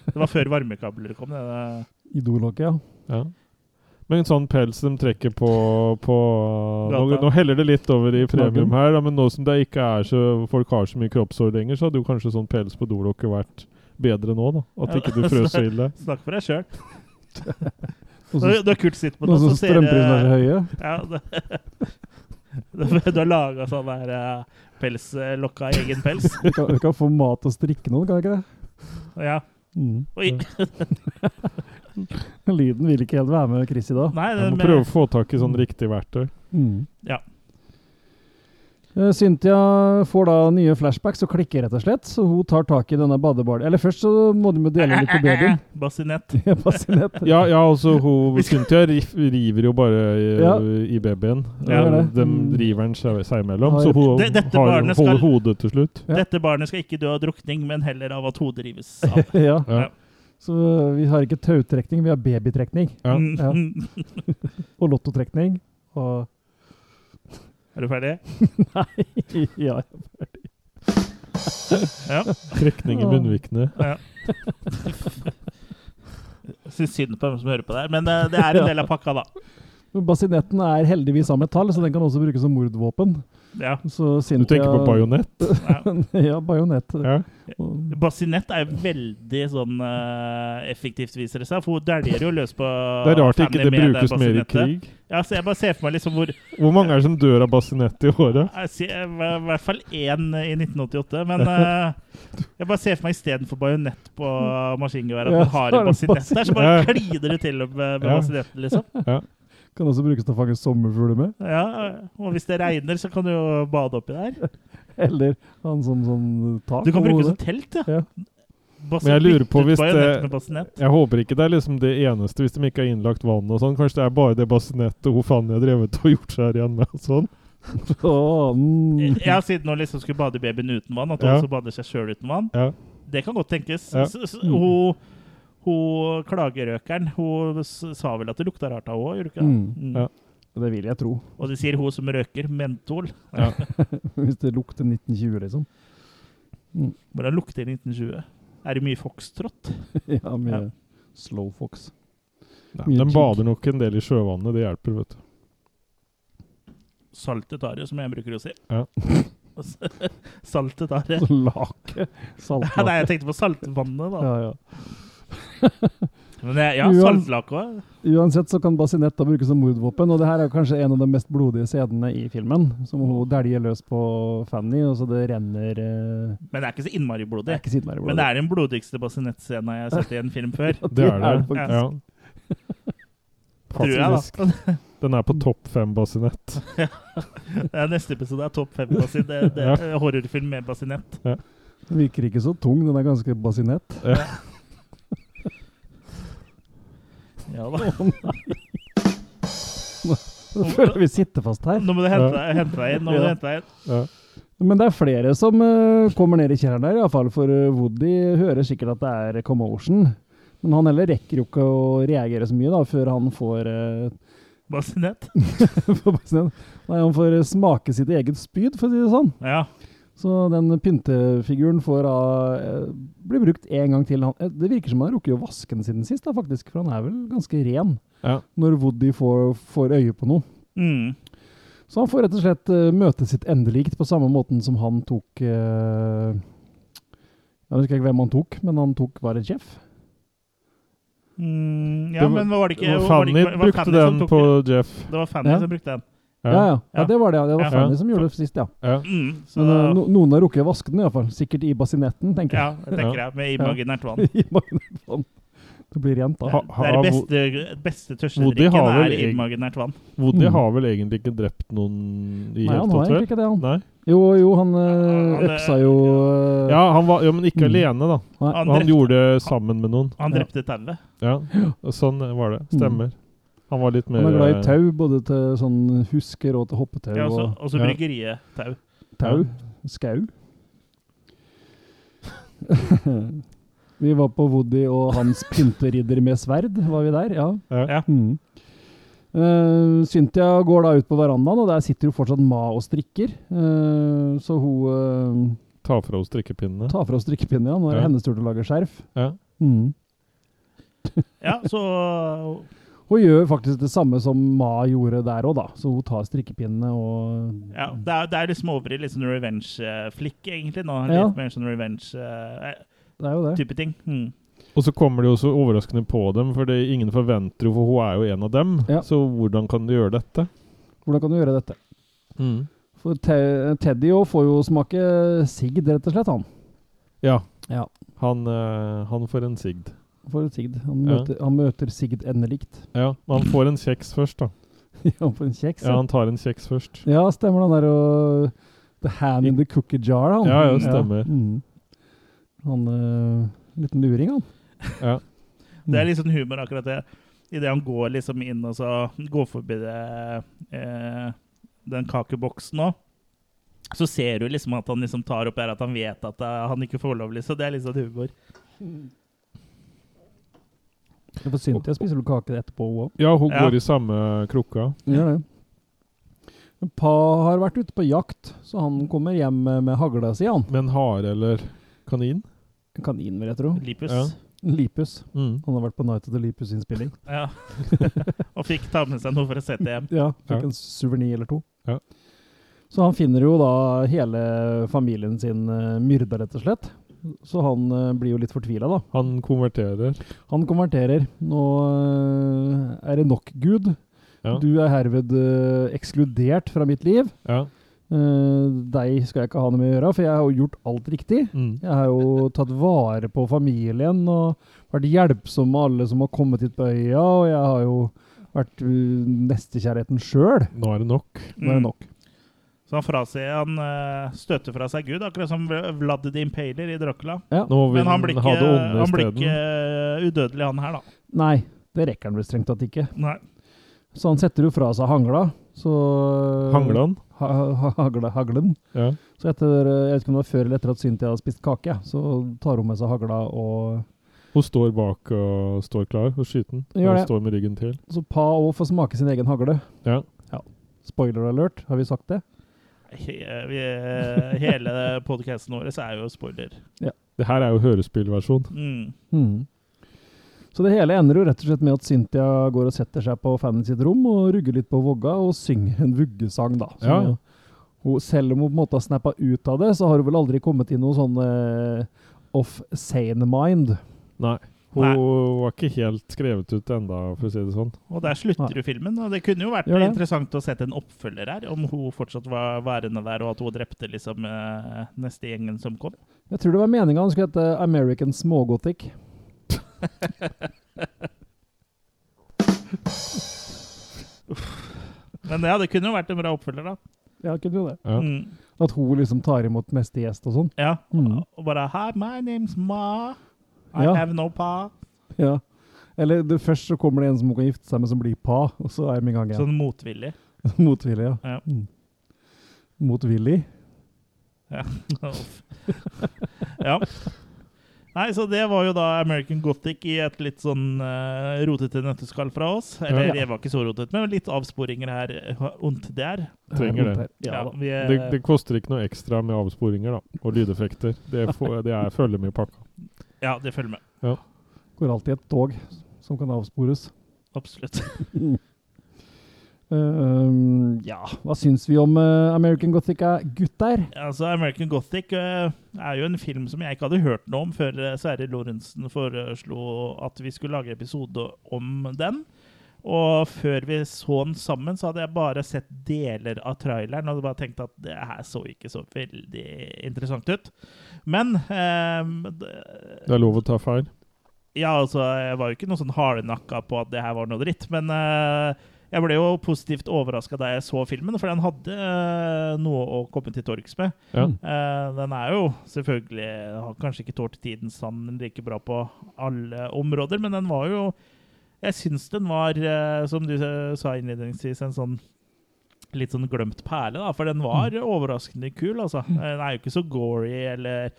Det var før varmekabler kom. Det, det. Idolokket, ja. Ja. Men en sånn pels de trekker på, på eh, nå, Gata. nå heller det litt over i premium Knaggen. her, da, men nå som det ikke er så folk har så mye kroppshår lenger, så hadde jo kanskje sånn pels på dolokket vært bedre nå, da. At Ja, ikke du frøs så ille. Snakk for deg sjøl. Og så- Du har kult sitt på og det. så så ser eh, strømprisene er det- høye. Ja, det- Du har laga sånn der eh, pelslokk av egen pels. Du kan, du kan få mat og strikke noen, kan du ikke det? Ja. Mm. Oi. Lyden vil ikke helt være med Chris i dag. Nei, Jeg det, må men- eh, prøve å få tak i sånn riktig verktøy. Mm. Ja. Eh, Cynthia får da nye flashbacks og klikker, rett og slett. Så hun tar tak i denne badebaljen. Eller først så må de jo dele litt på babyen. Bassinett. Det er Bassinett. Ja, ja altså, hun Cynthia rif- river jo bare i, Ja. i babyen. Ja. Eh, Det er det. De Mm. river den seg seg imellom, Har- så hun Det- dette har, barnet skal- holder hodet til slutt. Ja. Dette barnet skal ikke dø av drukning, men heller av at hodet rives av. ja. Ja. Så eh, vi har ikke tautrekning, vi har babytrekning. Ja. Mm. Ja. Og lottotrekning. Og Er du ferdig? ja. Ja. Trekning i munnvikene. Syns synd på dem som hører på det her, men eh, det er en del av pakka, da. Men Bassinetten er heldigvis av metall, så den kan også brukes som mordvåpen. Ja. Så Du Cynthia, tenker på bajonett? ja. ja, bajonett. Ja. Og- Basinett er jo veldig sånn eh, effektivt, viser det seg. For hun dæljer jo løs på Det er rart ikke Fanny det med brukes mer i bassinettet. krig. Ja, så jeg bare ser for meg liksom hvor Hvor mange er det som dør av basinett i året? Jeg ser i hvert fall én i 1988, men eh, jeg bare ser for meg istedenfor bajonett på maskingeværet, Ja, at man har så er en det basinett der, så bare basinett. klider det til med, med Ja. basinetten, liksom. Kan også brukes til å fange sommerfugler med. Ja, og hvis det regner, så kan du jo bade oppi der. Eller han som sånn tak Du kan på bruke det hodet. som telt, Ja. ja. Basin- Men jeg lurer på bytte ut hvis det- bajonett med basinett. Jeg håper ikke det er liksom det eneste, hvis de ikke har innlagt vann og sånn. Kanskje det er bare det basinettet hun Fanny har drevet og gjort seg igjen med og sånn. Å, mm. Ja, siden hun liksom skulle bade babyen uten vann, at hun Ja. også bader seg sjøl uten vann. Ja. Det kan godt tenkes. Ja. S- s- Mm. Hun, hun klagerøkeren hun s- sa vel at det lukta rart av henne, gjorde hun ikke det? Mm. Mm. Ja. Det vil jeg tro. Og det sier hun som røker mentol. Hvis det lukter 1920, liksom. Hvordan lukter det i 1920? Er det mye foxtrot? ja, med Ja. slow fox. Nei, Mye de tid. bader nok en del i sjøvannet, det hjelper, vet du. Saltet are, som jeg bruker å si. Ja. Saltet are. Så lake. Ja, Nei, Saltlake. jeg tenkte på saltvannet, da. Ja, ja. Men det, ja, Uan- saltlake òg. Uansett så kan bassinett da brukes som mordvåpen, og det her er kanskje en av de mest blodige scenene i filmen. Som hun dæljer løs på Fanny, og så det renner eh, Men det er ikke så innmari Det blodig. er ikke siden der i Men det er den blodigste basinettscenen jeg har sett i en film før. Det er det. faktisk. Ja. Tror jeg, da. Den er på topp fem-basinett. Det er neste episode er topp fem basinett. Det, det er horrorfilm med basinett. Den virker ikke så tung, den er ganske basinett. Ja da. Jeg føler vi sitter fast her. Nå må du hente deg, hente deg inn. Nå må du hente deg inn. Ja. Men det er flere som eh, kommer ned i kjelleren der, iallfall for eh, Woody hører sikkert at det er commotion. Men han heller rekker jo ikke å reagere så mye da, før han får eh, Basinett. får bare se- Nei, han får eh, smake sitt eget spyd, for å si det sånn. Ja. Så den pyntefiguren får da eh, bli brukt en gang til. Han, eh, det virker som han rukker å vaske den siden sist, da, faktisk, for han er vel ganske ren Ja. når Woody får, får øye på noe. Mm. Så han får rett og slett eh, møtet sitt endelikt på samme måten som han tok eh, Jeg husker ikke hvem han tok, men han tok bare en sjef. Mm, ja, Det var- men var det ikke Og var det Fanny ikke- var det brukte Fanny som den tok på den? Jeff. Det var Fanny Ja. som brukte den. Ja, ja. ja. Ja. det var det. Det var Ja. Fanny som gjorde det sist, ja. Ja. Mm, så Men eh, da, no, noen har rukket å vaske den, iallfall. Sikkert i basinetten, tenker ja, det tenker jeg. Med imaginært vann. jeg. I magen på den. det blir rent da. Ha, Det er ha, det beste, beste Woody tørstedrikken har vel er egen- imaginært vann. Woody Mm. har vel egentlig ikke drept noen i Nei, han har egentlig Heftotrell? ikke det, han. Nei. Jo, jo, han Ja, eh, han, eh, øksa jo eh, Ja, han var, ja, men ikke Mm. alene, da. Han Han, drepte- gjorde det sammen med noen. Han Ja. drepte tauet. Ja, og Sånn var det. Stemmer. Han var litt mer Han er glad i eh, tau, både til sånn husker og til hoppetau Ja, også, og også ja. bryggeriet tau. tau. Skau. vi var på Woody og hans pynteridder med sverd, var vi der? Ja. Ja. Ja. Mm. Eh, Cynthia går da ut på verandaen, og der sitter jo fortsatt Ma og strikker. Eh, så hun Ta fra henne strikkepinnene. eh, tar fra oss strikkepinnen ja, når Ja. hennes tur til å lage skjerf. Ja. Mm. Ja, så Hun gjør faktisk det samme som Ma gjorde der òg, da. Så hun tar strikkepinnene og ja, det, er, det er liksom over i litt sånn revenge-flikk, egentlig. nå. Ja. Litt mer sånn revenge-type Det er jo det. ting. Mm. Og så kommer det jo så overraskende på dem, for det ingen forventer jo, for hun er jo en av dem. Ja. Så hvordan kan du gjøre dette? Mm. Hvordan kan du gjøre dette? For te Teddy jo får jo smake sigd, rett og slett, han. Ja. Ja. Han, eh, han får en sigd. Får sigd. Han Ja. møter, han møter sigd endelikt. Ja, men han får en kjeks først, da. han får en kjeks. Ja, Ja, han tar en kjeks først. ja stemmer han der og The hand in the cookie jar, han. Ja, ja, stemmer. Mm. Han øh, liten luring, han. Ja. Det er litt sånn humor, akkurat det. Idet han går liksom inn og så går forbi det, eh, den kakeboksen òg, så ser du liksom at han liksom tar opp her at han vet at eh, han ikke får lov, liksom. Det er litt sånn humor. Det var synd at jeg spiser vel kake etterpå òg. Ja, hun Ja. går i samme krukka. Gjør det. Men Pa har vært ute på jakt, så han kommer hjem med, med hagla si, han. Med en hare eller kanin. En Kanin, vil jeg tro. Lipus. Ja. Lipus. Mm. Han har vært på Night of the Lipus-innspilling. Ja. og fikk ta med seg noe for å sette hjem. Ja, fikk Ja. en suverni eller to. Ja. Så han finner jo da hele familien sin eh, myrda, rett og slett. Så han eh, blir jo litt fortvila, da. Han konverterer. Han konverterer. Nå eh, er det nok, Gud. Ja. Du er herved eh, ekskludert fra mitt liv. Ja. Eh, deg skal jeg ikke ha noe med å gjøre, for jeg har jo gjort alt riktig. Mm. Jeg har jo tatt vare på familien og vært hjelpsom med alle som har kommet hit på øya, og jeg har jo vært uh, nestekjærligheten sjøl. Nå er det nok. Nå er det Mm. nok. Så han, fra seg, han eh, støter fra seg Gud, akkurat som Vlad the Impaler i Dracula. Nå vil Men han blir ha ikke, det onde han blir isteden. ikke udødelig, han her, da. Nei, det rekker han vel strengt tatt ikke. Nei. Så han setter jo fra seg hangla. Så Hangla han? Ha, ha, hagla, haglen. Ja. Så etter, eh, jeg vet ikke om det var før eller etter at Cynthia har spist kake, ja, så tar hun med seg hagla og Hun står bak og står klar og skyter den. Gjør Hun det. står med ryggen til. Så pa òg får smake sin egen hagle. Ja. Spoiler alert, har vi sagt det? He, vi, hele podkasten vår så er jo spoiler. Det her er jo hørespillversjon. Mm. Mhm. Så det hele ender jo rett og slett med at Cynthia går og setter seg på fanen sitt rom og rugger litt på vogga og synger en vuggesang, da. Som Ja. jo- Hun, selv om hun på en måte har snappa ut av det, så har hun vel aldri kommet i noe sånn eh, off sane mind. Nei. Hun Nei. var ikke helt skrevet ut enda, for å si det sånn. Og der slutter jo filmen. Og det kunne jo vært Gjør det. interessant å sette en oppfølger her, om hun fortsatt var værende der, og at hun drepte liksom eh, neste gjengen som kom. Jeg tror det var meninga han skulle hete American Smågothic. Men ja, det kunne jo vært en bra oppfølger, da. Ja, kunne jo det. Ja. Mm. At hun liksom tar imot neste gjest og sånn. Ja. Mm. Og bare Hi, my name's Ma. I Ja. have no pa. Ja. Eller det, først så kommer det en som hun kan gifte seg med, som blir pa, og så er de i gang igjen. Sånn motvillig. Motvillig, ja. Ja. Mm. Motvillig. Uff. ja. Nei, så det var jo da American Gothic i et litt sånn eh, rotete nøtteskall fra oss. Eller Ja. det var ikke så rotete, men litt avsporinger her. eh, Ondt der. Trenger det. Ja, da. vi, eh, Det, det koster ikke noe ekstra med avsporinger da, og lydeffekter. Det, får, det er, følger med i pakka. ja, det følger med. Går alltid et tog som kan avspores. Absolutt. Ehm, ja, hva syns vi om eh, American Gothic, eh, gutter? Altså, American Gothic eh, er jo en film som jeg ikke hadde hørt noe om før eh, Sverre Lorentzen foreslo at vi skulle lage episode om den. Og før vi så den sammen, så hadde jeg bare sett deler av traileren og bare tenkt at det her så ikke så veldig interessant ut. Men eh, d- Det er lov å ta feil. ja, altså, jeg var jo ikke noe sånn hardnakka på at det her var noe dritt, men eh, jeg ble jo positivt overraska da jeg så filmen, for den hadde eh, noe å komme til torgs med. Ja. Eh, den er jo selvfølgelig den Har kanskje ikke tålt tidens sand like bra på alle områder, men den var jo Jeg syns den var, eh, som du eh, sa innledningsvis, en sånn litt sånn glemt perle, da. For den var overraskende kul, altså. Eh, Den er jo ikke så gory eller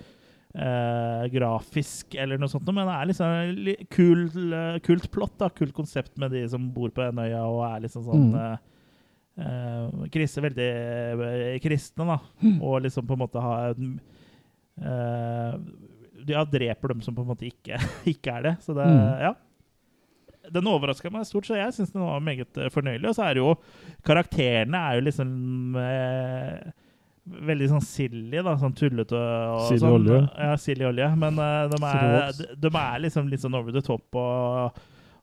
eh, grafisk eller noe sånt, men det er liksom en li- kul, eh, kult plott, da. Kult konsept med de som bor på den øya og er liksom sånn Mm. eh, eh, kristne, veldig eh, kristne, da. Og liksom på en måte ha en eh, Ja, dreper dem som på en måte ikke, ikke er det. Så det Mm. Ja. Den overraska meg stort, så jeg syns den var meget eh, fornøyelig. Og så er det jo Karakterene er jo liksom eh, Veldig sånn silly, da. Sånn tullete og Silly sånn. olje. Ja, silly olje. Men eh, de, er, Silly de, de er liksom litt sånn over the top og,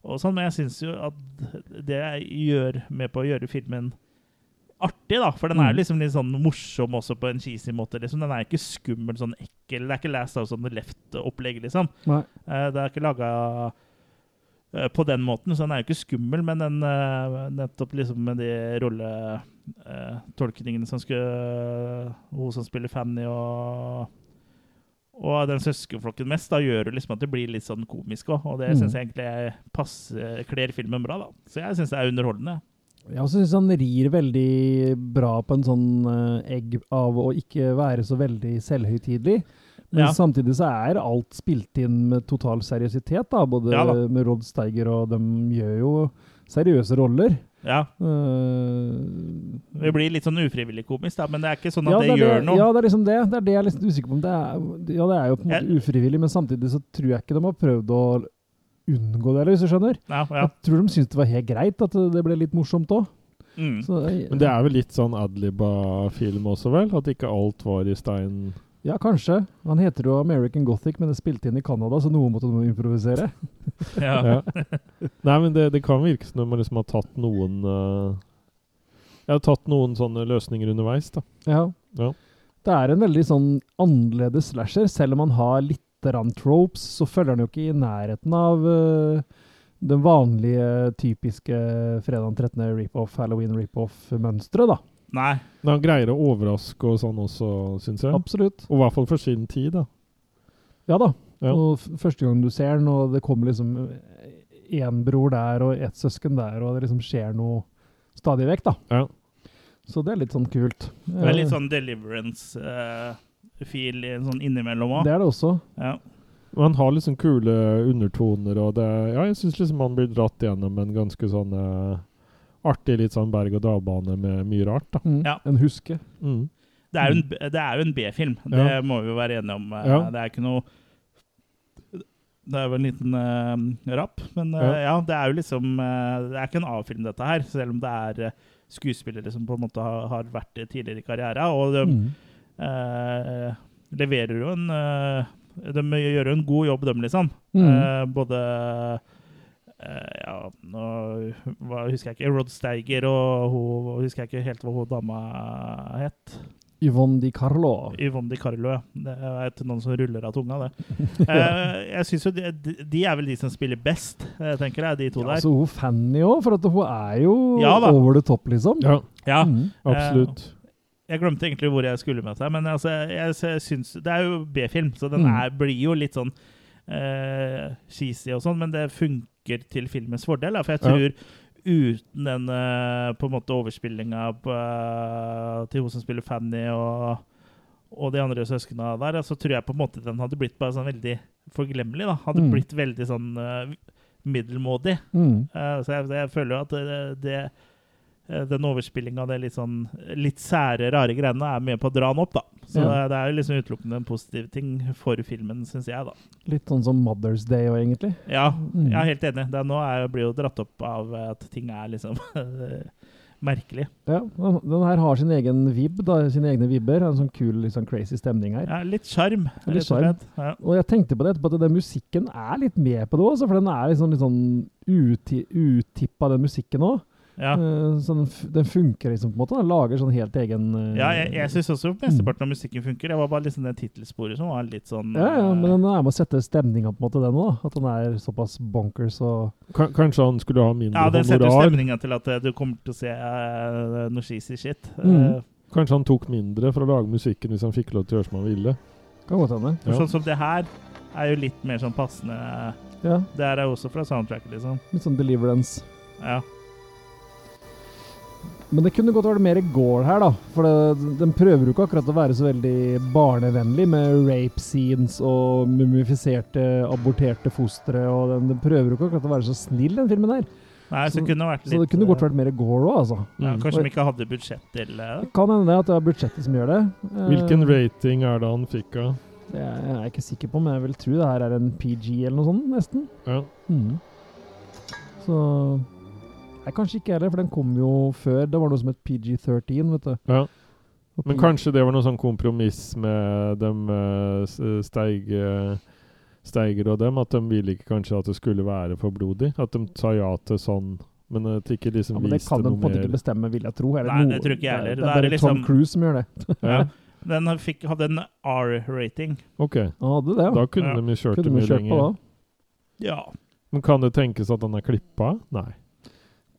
og sånn. Men jeg syns jo at det gjør med på å gjøre filmen artig, da. For den er Mm. liksom litt sånn morsom også på en cheesy måte. liksom. Den er ikke skummel, sånn ekkel. Det er ikke Last House on the Left-opplegg, liksom. Nei. Eh, Det er ikke laga på den måten, så den er jo ikke skummel, men den eh, nettopp liksom med de rolletolkningene som skulle eh, Hun som spiller Fanny og og den søskenflokken mest, da gjør jo liksom at det blir litt sånn komisk òg. Og det Mm. syns jeg egentlig passer, kler filmen bra, da. Så jeg syns det er underholdende. Jeg også syns han rir veldig bra på en sånn eh, egg av å ikke være så veldig selvhøytidelig. Men Ja. samtidig så er alt spilt inn med total seriøsitet, da. Både Ja da. med Rod Steiger og de gjør jo seriøse roller. Ja, Eh, Det blir litt sånn ufrivillig komisk, da, men det er ikke sånn at ja, det, er gjør det, noe. Ja, det er liksom det. Det er det jeg er litt usikker på om det er Ja, det er jo på en måte ufrivillig, men samtidig så tror jeg ikke de har prøvd å unngå det, eller hvis du skjønner. Ja, ja. Jeg tror de syntes det var helt greit at det ble litt morsomt òg. Mm. Men det er vel litt sånn adliba-film også, vel? At ikke alt var i stein. Ja, kanskje. Han heter jo American Gothic, men det spilte inn i Canada, så noe måtte de improvisere. Ja. Ja. Nei, men det, det kan virke som om man liksom har tatt noen eh, Jeg har tatt noen sånne løsninger underveis, da. Ja. Ja. Det er en veldig sånn annerledes slasher, selv om han har litt grann tropes, så følger han jo ikke i nærheten av øh, den vanlige, typiske fredag den 13. rip-off, Halloween rip-off-mønsteret, da. Nei. Men han greier å overraske og sånn også, syns jeg. Absolutt. Og i hvert fall for sin tid, da. Ja da. Ja. Og f- første gang du ser den, og det kommer liksom én bror der og ett søsken der, og det liksom skjer noe stadig vekk, da. Ja. Så det er litt sånn kult. Det er litt sånn deliverance-feel sånn innimellom òg. Eh, Det er det også. Ja. Men han har liksom kule undertoner, og det Ja, jeg syns liksom han blir dratt gjennom en ganske sånn eh, artig litt sånn berg-og-dal-bane med mye rart, da. Mm. Ja. En huske. Mm. Det er jo en, B- det er jo en B-film, det Ja. må vi jo være enige om. Eh, Ja. Det er ikke noe Det er jo en liten eh, rapp, men eh, Ja. ja. det er jo liksom eh, Det er ikke en A-film, dette her, selv om det er eh, skuespillere som på en måte har, har vært det tidligere i karriera. Og de Mm. eh, leverer jo en eh, De gjør jo en god jobb, dem, liksom. Mm. Eh, både eh, Ja, nå hva, husker jeg ikke Rod Steiger og hun Husker jeg ikke helt hva hun dama het. Yvonne Di Carlo. Yvonne Di Carlo, ja. Det er et- noen som ruller av tunga, det. Eh, jeg synes jo de, de- de er vel de som spiller best, eh, tenker jeg, de to Ja, der. altså, hun Fanny òg, for at hun er jo Ja da. over the top, liksom. Ja, Ja, Eh. Mhm. absolutt. jeg glemte egentlig hvor jeg skulle med dette, men altså, jeg, jeg syns Det er jo B-film, så den Mm. er, blir jo litt sånn eh, cheesy og sånn, men det funker til filmens fordel, da, for jeg Ja. tror uten den eh, på en måte overspillinga på, eh, til hun som spiller Fanny og, og de andre søsknene der, så tror jeg på en måte den hadde blitt bare sånn veldig forglemmelig. da, Hadde Mm. blitt veldig sånn eh, middelmådig. Mm. Eh, så jeg, jeg føler jo at det, det, eh, den overspillinga av det litt sånn litt sære, rare greiene er med på å dra den opp, da. Så Ja. det, det er jo liksom utelukkende en positiv ting for filmen, syns jeg, da. Litt sånn som Mother's Day òg, egentlig. Ja, Mm. jeg er helt enig. Det er, nå er, blir jo dratt opp av at ting er liksom merkelig. Ja, den, den her har sin egen vibb, da, sine egne vibber. En sånn kul, litt sånn crazy stemning her. Ja, litt sjarm, Litt rett og sjarm. slett. Ja. Og jeg tenkte på det etterpå, at den musikken er litt med på det òg, for den er liksom litt sånn uti, utippa, den musikken òg. Ja. Så den, f- den funker liksom på en måte. Den lager sånn helt egen eh, Ja, jeg, jeg syns også mesteparten av musikken funker. Det var bare liksom det tittelsporet som var litt sånn ja, ja, men eh, den er med å sette stemninga på en måte, den òg. At den er såpass bonkers og Ka- Kanskje han skulle ha eh, mindre ja, det setter honorar? stemninga til at eh, du kommer til å se eh, noe cheesy shit. Mm. Eh, Kanskje han tok mindre for å lage musikken hvis han fikk lov til å gjøre som han ville? Kan godt hende. For Ja. Sånn som det her er jo litt mer sånn passende. Ja, Det her er også fra soundtracket, liksom. litt sånn deliverance. Ja. Men det kunne godt vært mer gore her, da. For det, den prøver jo ikke akkurat å være så veldig barnevennlig med rape scenes og mumifiserte, aborterte fostre. Og den, den prøver jo ikke akkurat å være så snill, den filmen her. Nei, så, Så- det kunne vært litt eh, Så det kunne godt vært mer gore òg, altså. ja, Mm. Kanskje de ikke hadde budsjett til eh, Det kan hende at det er budsjettet som gjør det. Eh, Hvilken rating er det han fikk av? Det er jeg er ikke sikker på, men jeg vil tro det her er en PG eller noe sånt, nesten. Ja. Mhm. Så Nei, kanskje ikke heller, for den kom jo før. Det var noe som het PG13, vet du. ja. Og Men P- kanskje det var noe sånn kompromiss med dem eh, s- steig, eh, Steiger og dem, at de ville ikke kanskje at det skulle være for blodig? At de sa ja til sånn, men at de ikke ja, liksom men Det viste kan de på noe en måte mer? ikke bestemme, vil jeg tro. Er Nei, noe- det tror ikke jeg heller. Det er Da er bare det Tom liksom- Cruise som gjør det. Ja, Den fikk, hadde en R-rating. ok, Han hadde det, ja. da kunne Ja. de jo kjørt det Kunne vi mye kjørt på lenger. da? Ja. Men kan det tenkes at han er klippa? Nei.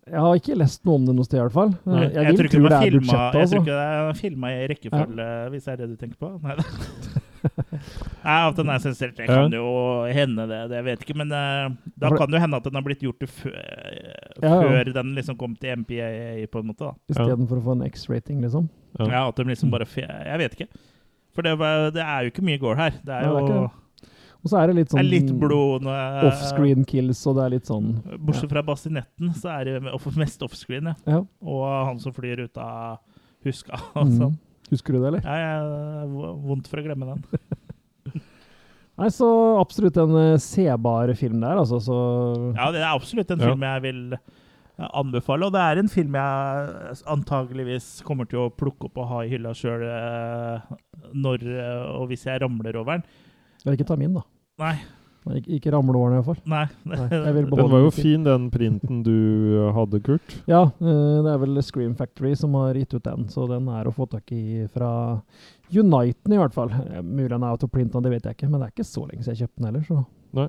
Jeg har ikke lest noe om det noe sted, i hvert fall. Nei, Jeg, Jeg, vil tror ikke tro den det var er filma budsjettet, Jeg tror altså. ikke det er filma i rekkefølge, hvis det er det du tenker på. Nei, da. Nei at den er sensurert, det kan jo hende, det. det vet jeg ikke. Men eh, da For det- kan det jo hende at den har blitt gjort til før, Ja, ja. før den liksom kom til MPAA, på en måte. da Istedenfor å få en X-rating, liksom. Ja. Ja, at de liksom bare fe Jeg vet ikke. For det, var, det er jo ikke mye gore her. Det er Nei, jo det er det ikke Og så er det litt er sånn litt blod eh, nå er- offscreen kills, og det er litt sånn Bortsett fra bastinetten, så er det off- mest offscreen. Ja. Ja. Og han som flyr ut av huska og Mhm. sånn. Husker du det, eller? Ja, jeg, vondt for å glemme den. Nei, så absolutt en eh, sebar film der, altså. Så Ja, det er absolutt en Ja. film jeg vil eh, anbefale. Og det er en film jeg antageligvis kommer til å plukke opp og ha i hylla sjøl eh, når eh, og hvis jeg ramler over den. Jeg vil ikke ta min, da. Nei. Nei, ikke, ikke ramleårene, i hvert fall. Nei. Nei, jeg vil Den beholde var jo musikken. fin, den printen du eh, hadde, Kurt. Ja, eh, det er vel Scream Factory som har gitt ut den, så den er å få tak i fra Uniten i hvert fall. Eh, Mulig den er out of print, nå, det vet jeg ikke, men det er ikke så lenge siden jeg kjøpte den heller, så Nei.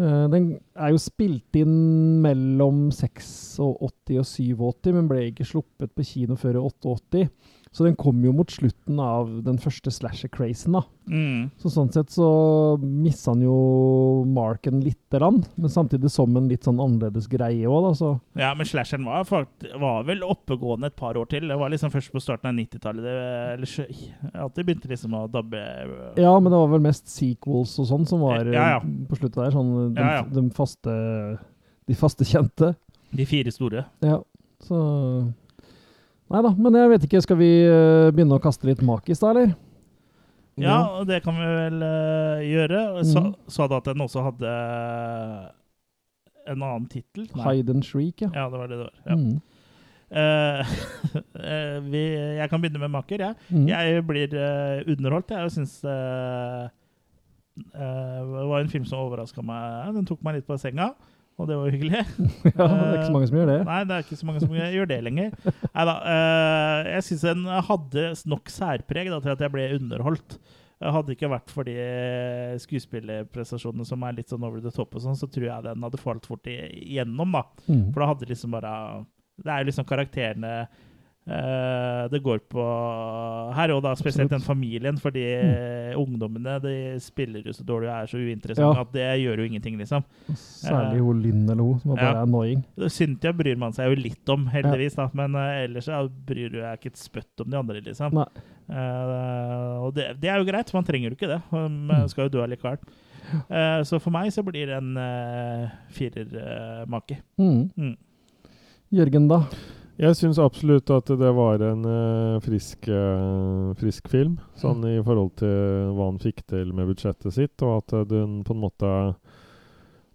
Eh, Den er jo spilt inn mellom 86 og 87, men ble ikke sluppet på kino før i 88. Så den kom jo mot slutten av den første slasher-crazen, da. Mm. Så sånn sett så missa han jo marken lite grann, men samtidig som en litt sånn annerledes greie òg, da. Så Ja, men slasheren var, fakt- var vel oppegående et par år til. Det var liksom først på starten av 90-tallet det- eller sjø- at det begynte liksom å dabbe. Ja, men det var vel mest sequels og sånn som var eh, Ja, ja. på sluttet der. Sånn de, Ja, ja. de faste De faste kjente. De fire store. Ja, så Nei da, men jeg vet ikke. Skal vi eh, begynne å kaste litt makis, da, eller? Ja, og det kan vi vel eh, gjøre. Og Sa, Mhm. sa du at den også hadde en annen tittel? Nei. Hide and shriek, ja. Ja, det var det det var. Ja. Mm. Eh, eh, vi, jeg kan begynne med maker, jeg. Mm. Jeg blir eh, underholdt, jeg, og syns eh, eh, Det var en film som overraska meg. Den tok meg litt på senga. og det var jo hyggelig. Ja, det er ikke så mange som gjør det. Nei, det er ikke så mange som gjør det lenger. Neida, eh, jeg syns den hadde nok særpreg da, til at jeg ble underholdt. Eh, Hadde det ikke vært for de skuespillerprestasjonene som er litt sånn over the top, og sånn, så tror jeg den hadde falt fort igjennom. da. Mm. For da hadde liksom bare Det er jo liksom karakterene eh, det går på her, og da Absolutt. Mm. spesielt den familien, fordi ungdommene de spiller jo så dårlig og er så uinteressante Ja. at det gjør jo ingenting, liksom. Særlig hun Linn eller hun, som var bare Ja. annoying. Cynthia bryr man seg jo litt om, heldigvis, da. men eh, ellers så bryr jo jeg ikke et spøtt om de andre. liksom. Nei. Eh, og det, det er jo greit, man trenger jo ikke det. Man Mm. skal jo dø allikevel. Eh, så for meg så blir det en uh, firermake. Mm. Mm. Jørgen, da? Jeg syns absolutt at det var en eh, frisk, eh, frisk film, sånn i forhold til hva han fikk til med budsjettet sitt, og at eh, den på en måte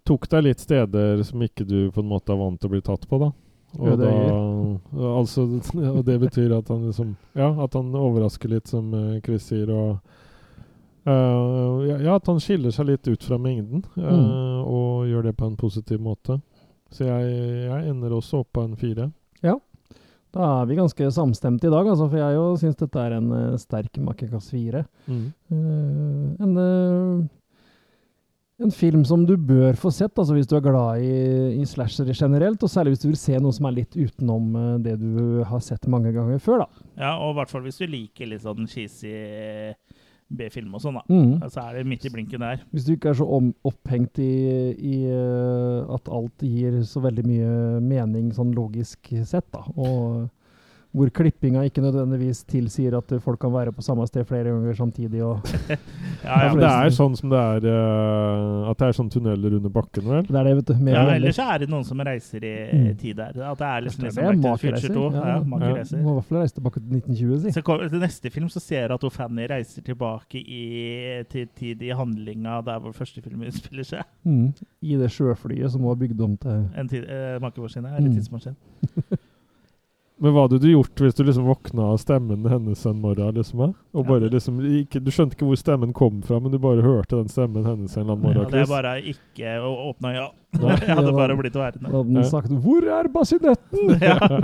tok deg litt steder som ikke du på en måte er vant til å bli tatt på, da. Og, da, Ødeøyer. altså, og det betyr at han liksom Ja, at han overrasker litt, som eh, Chris sier, og eh, ja, ja, at han skiller seg litt ut fra mengden, eh, Mm. og gjør det på en positiv måte. Så jeg, jeg ender også opp på en fire. Da er vi ganske samstemte i dag, altså, for jeg jo syns dette er en eh, sterk Makekass 4. Eh, en, eh, en film som du bør få sett altså hvis du er glad i, i slashere generelt, og særlig hvis du vil se noe som er litt utenom eh, det du har sett mange ganger før. da. Ja, og i hvert fall hvis du liker litt sånn cheesy B-film og sånn, da. Mm. Så er det midt i blinken der. Hvis du ikke er så om, opphengt i, i eh, at alt gir så veldig mye mening sånn logisk sett, da. og hvor klippinga ikke nødvendigvis tilsier at eh, folk kan være på samme sted flere ganger samtidig. og Ja, Ja, ja. for det er sånn som det er eh, At det er sånn tunneler under bakken, vel? Det er det, vet du. Mer Ja, eller ellers er det noen som reiser i Mm. tid der. At det er liksom, Det liksom er Back to the makereiser, Future 2. ja. Ja, Ja. makereiser. Må i hvert fall reise tilbake til 1920, si. Så kom, til neste film så ser du at hun Fanny reiser tilbake i, til tid i handlinga der hvor første film utspiller seg. Mm. I det sjøflyet som var bygd om til En tid, eh, makemaskin, eller Mm. tidsmaskin. Men hva hadde du gjort hvis du liksom våkna av stemmen hennes en morgen? liksom, eh? Og Ja, bare det- liksom, ikke, Du skjønte ikke hvor stemmen kom fra, men du bare hørte den stemmen hennes en eller Ja, annen morgen? det er Chris. bare ikke å åpne øya. Nei. Jeg Ja, hadde bare da- blitt Da værende. hadde den Ja. sagt 'Hvor er basinetten?' Ja.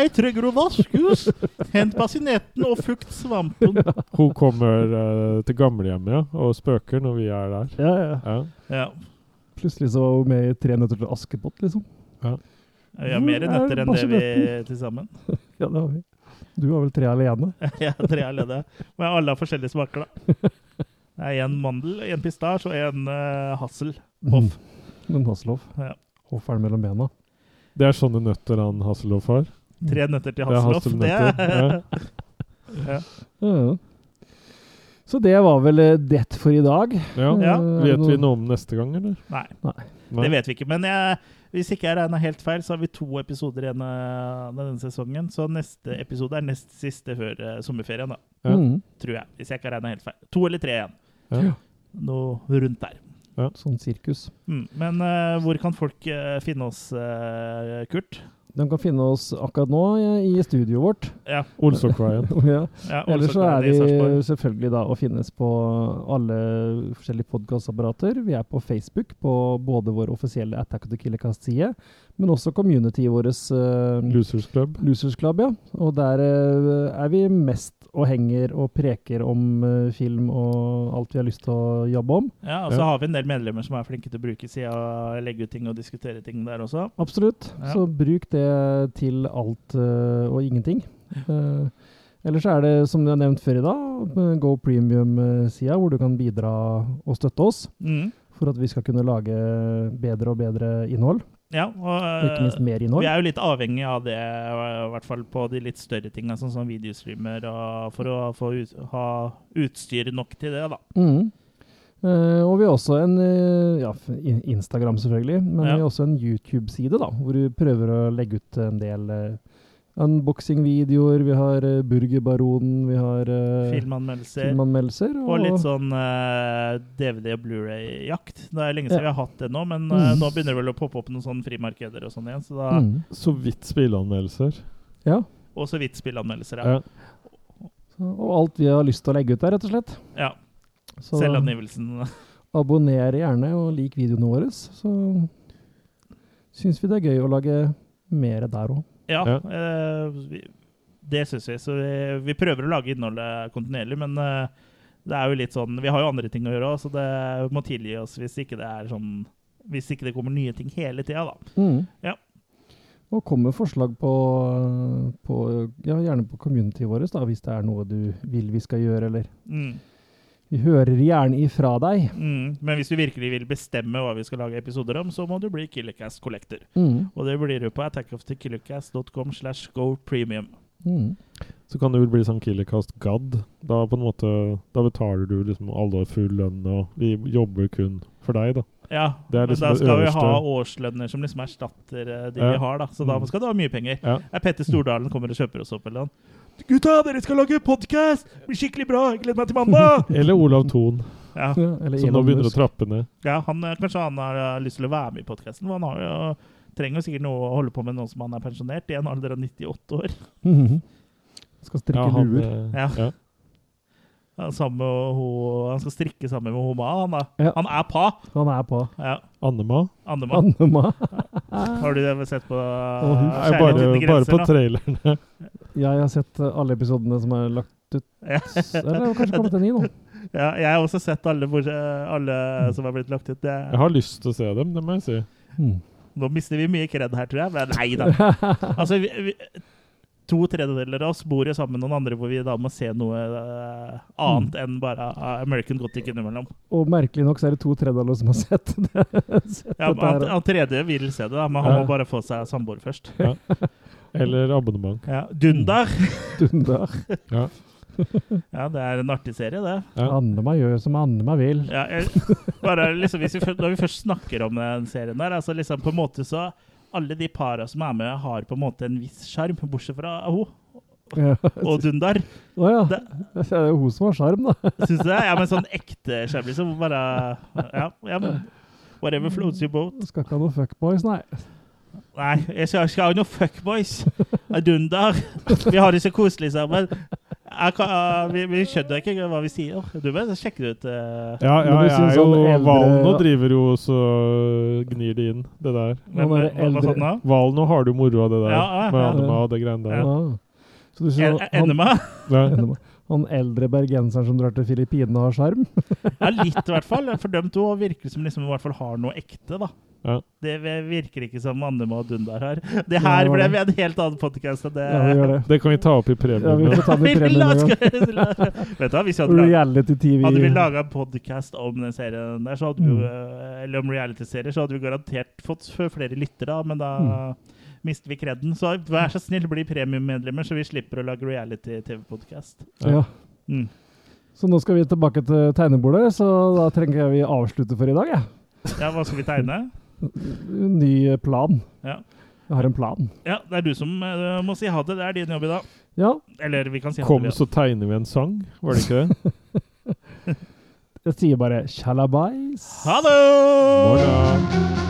Jeg trenger å vaskes! Hent basinetten og fukt svampen. Hun kommer eh, til gamlehjemmet ja, og spøker når vi er der. Ja, ja. Ja. Ja. Plutselig så var hun med i 'Tre nøtter til Askepott', liksom. Vi har mer Hvor nøtter Mm, er enn det vi til sammen. Ja, det har vi. Du har vel tre alene? Ja, tre er ledige. Men alle har forskjellige smaker, da. Det er én mandel, én pistasje og én uh, hassel. Mm. Hoff. Men Hasselhoff. Ja. Hoff er den mellom bena. Det er sånne nøtter han Hasselhoff har. Tre nøtter til Det er Hasselhoff. Det hasselnøtter, er, Ja, ja. Så det var vel eh, det for i dag. Ja. Ja. Eh, er det Vet vi noe- noe om neste gang, eller? Nei. Nei. Det vet vi ikke. Men jeg, hvis ikke jeg regna helt feil, så har vi to episoder igjen eh, av denne sesongen. Så neste episode er nest siste før eh, sommerferien, da. Ja. Mm. Tror jeg. Hvis jeg ikke regna helt feil. To eller tre igjen. Ja. Noe rundt der. Sånn sirkus. Mm. Men eh, hvor kan folk eh, finne oss, eh, Kurt? De kan finne oss akkurat nå eh, i studioet vårt. Ja. Olsokveien. ja. ja Ellers så er Olsøkveien i Sarpsborg. vi selvfølgelig da å finnes på alle forskjellige podkastapparater. Vi er på Facebook, på både vår offisielle Attack of the Killercast-side, men også communityet vårt eh, Losers Club. Losers Club, ja. Og der eh, er vi mest og henger og preker om eh, film og alt vi har lyst til å jobbe om. Ja, og så har vi en del medlemmer som er flinke til å bruke sida, legge ut ting og diskutere ting der også. Absolutt. Ja. Så bruk det til alt eh, og ingenting. Eh, ellers er det, som jeg har nevnt før i dag, eh, Go Premium-sida, hvor du kan bidra og støtte oss. Mm. for at vi skal kunne lage bedre og bedre innhold. Ja, og Og ikke minst eh, mer vi innhold. er jo litt avhengig av det, i hvert fall på de litt større tinga, sånn som videostreamer, og for å få ut, ha utstyr nok til det, da. Mm. Eh, og vi har også en eh, ja, f- in- Instagram, selvfølgelig, men Ja. vi har også en YouTube-side da, hvor vi prøver å legge ut en del eh, unboxing-videoer. Vi har eh, Burgerbaronen, vi har eh, Filmanmeldelser. filmanmeldelser. Og litt sånn eh, DVD- og Blu-ray-jakt. Det er lenge siden vi har hatt det nå, men eh, Mm. nå begynner det vel å poppe opp noen sånne frimarkeder og sånn igjen. Så da, mm. Så vidt spilleanmeldelser. Ja. Og så vidt spilleanmeldelser, ja. Ja. Så, og alt vi har lyst til å legge ut der, rett og slett. ja. Så Selvangivelsen. abonner gjerne og lik videoene våre. Så Syns vi det er gøy å lage mer der òg. Ja. eh, vi, det syns vi. Så vi, vi prøver å lage innholdet kontinuerlig, men eh, det er jo litt sånn Vi har jo andre ting å gjøre òg, så det må tilgi oss hvis ikke det er sånn Hvis ikke det kommer nye ting hele tida, da. Mm. Ja. Og kom med forslag på, på ja, gjerne på communityet vårt, da, hvis det er noe du vil vi skal gjøre, eller Mm. Vi hører gjerne ifra deg. Mm. Men hvis du virkelig vil bestemme hva vi skal lage episoder om, så må du bli Killercast Collector. Mm. Og det blir du på attackofthekillercast.com slash go premium. Mm. Så kan det vel bli sånn Killercast Gadd. Da på en måte, da betaler du liksom alle full lønn, og vi jobber kun for deg, da. Ja, Det er men liksom da det skal vi øverste. ha årslønner som liksom erstatter eh, de Ja. vi har, da. Så da Mm. skal du ha mye penger. Ja. Er Petter Stordalen kommer og kjøper oss opp eller noe? Gutta, dere skal lage podkast! Blir skikkelig bra! Jeg gleder meg til mandag! Eller Olav Thon, ja. Ja, eller som nå Elon begynner å Musk. trappe ned. ja, han eh, kanskje han har eh, lyst til å være med i podkasten. Han har jo, trenger jo sikkert noe å holde på med nå som han er pensjonert, i en alder av 98 år. Mhm. Skal strikke han, luer. eh, Ja. ja. Han, er sammen med ho, han skal strikke sammen med Homa, han da. Ja. Han er pa! eh, Han er på Ja. Annema. Andema. Annema. Har du sett på hun- uh, Nei, bare, bare på trailerne. Jeg har sett eh, alle episodene som er lagt ut. Ja. Eller det har kanskje kommet en ny nå. Ja, jeg har også sett alle, hvor, eh, alle som har blitt lagt ut. Det, Jeg har lyst til å se dem, det må jeg si. Mm. Nå mister vi mye kred her, tror jeg. Men nei da. Altså, vi, vi, to tredjedeler av oss bor jo sammen med noen andre hvor vi da må se noe eh, annet Mm. enn bare eh, American Gothic innimellom. Og merkelig nok så er det to tredjedeler som har sett det. sett Ja, dette her. han, han tredje vil se det, da, men han Ja. må bare få seg samboer først. Eller abonnement. Ja, Dundar. Dunder. Ja, det er en artig serie, det. Ja. Annema gjør som Annema vil. Ja, jeg, bare liksom, hvis vi, fø- når vi først snakker om den serien der, altså liksom på en måte så Alle de para som er med, har på en måte en viss sjarm, bortsett fra ho Ja. og Dundar. Å ja. Det- Det er jo hun som har sjarm, da. Syns du det? Ja, men sånn ekte sjarm, liksom. Bare Ja, ja men Whatever floats your boat. Skal ikke ha noen fuckboys, nei. Nei, jeg skal ikke ha noen fuckboys. Dundar. Vi har det så koselig sammen. Jeg kan, eh, vi, vi skjønner ikke hva vi sier. Du bør sjekke det ut. eh. Ja, Men ja, du jeg synes er jo sånn eldre- Valen nå driver jo så gnir det inn, det der. Hvem- sånn Nå er det hva- hva sa eldre- den da? Valen nå har du moro av det der, Ja, ja, med ja. Annema og det greiene der. Ja. Så du En- synes en- han, Enema? Ja. Annema. han eldre bergenseren som drar til Filippinene, har sjarm? Ja, litt i hvert fall. Fordømt òg virker som liksom i hvert fall har noe ekte, da. Ja. Det virker ikke som Annema og Dundar har. Det Ja, her det var ble det. en helt annen podkast enn det. Ja, vi gjør det. Det kan vi ta opp i Ja, vi premien. får ta den i Eh. Vi premien la- en gang. Vet du hva, hvis vi hadde laget- Reality-TV. hadde vi laga en podkast om den serien der, så hadde vi Mm. jo, eh, eller om reality-serier, så hadde vi garantert fått f- flere lyttere, da, men Mm. da mister vi kreden. Så vær så snill, bli premiummedlemmer, så vi slipper å lage reality-TV-podkast. Ja. Mm. Så nå skal vi tilbake til tegnebordet, så da trenger jeg vi avslutte for i dag. jeg. Ja, hva skal vi tegne? Ny plan. Ja. Jeg har en plan. Ja, det er du som eh, må si ha det. Det er din jobb i dag. Ja, Eller vi kan si ha det. Kom, vi også. så tegner vi en sang, var det ikke det? jeg sier bare 'shalabais'. Hello! Morgen.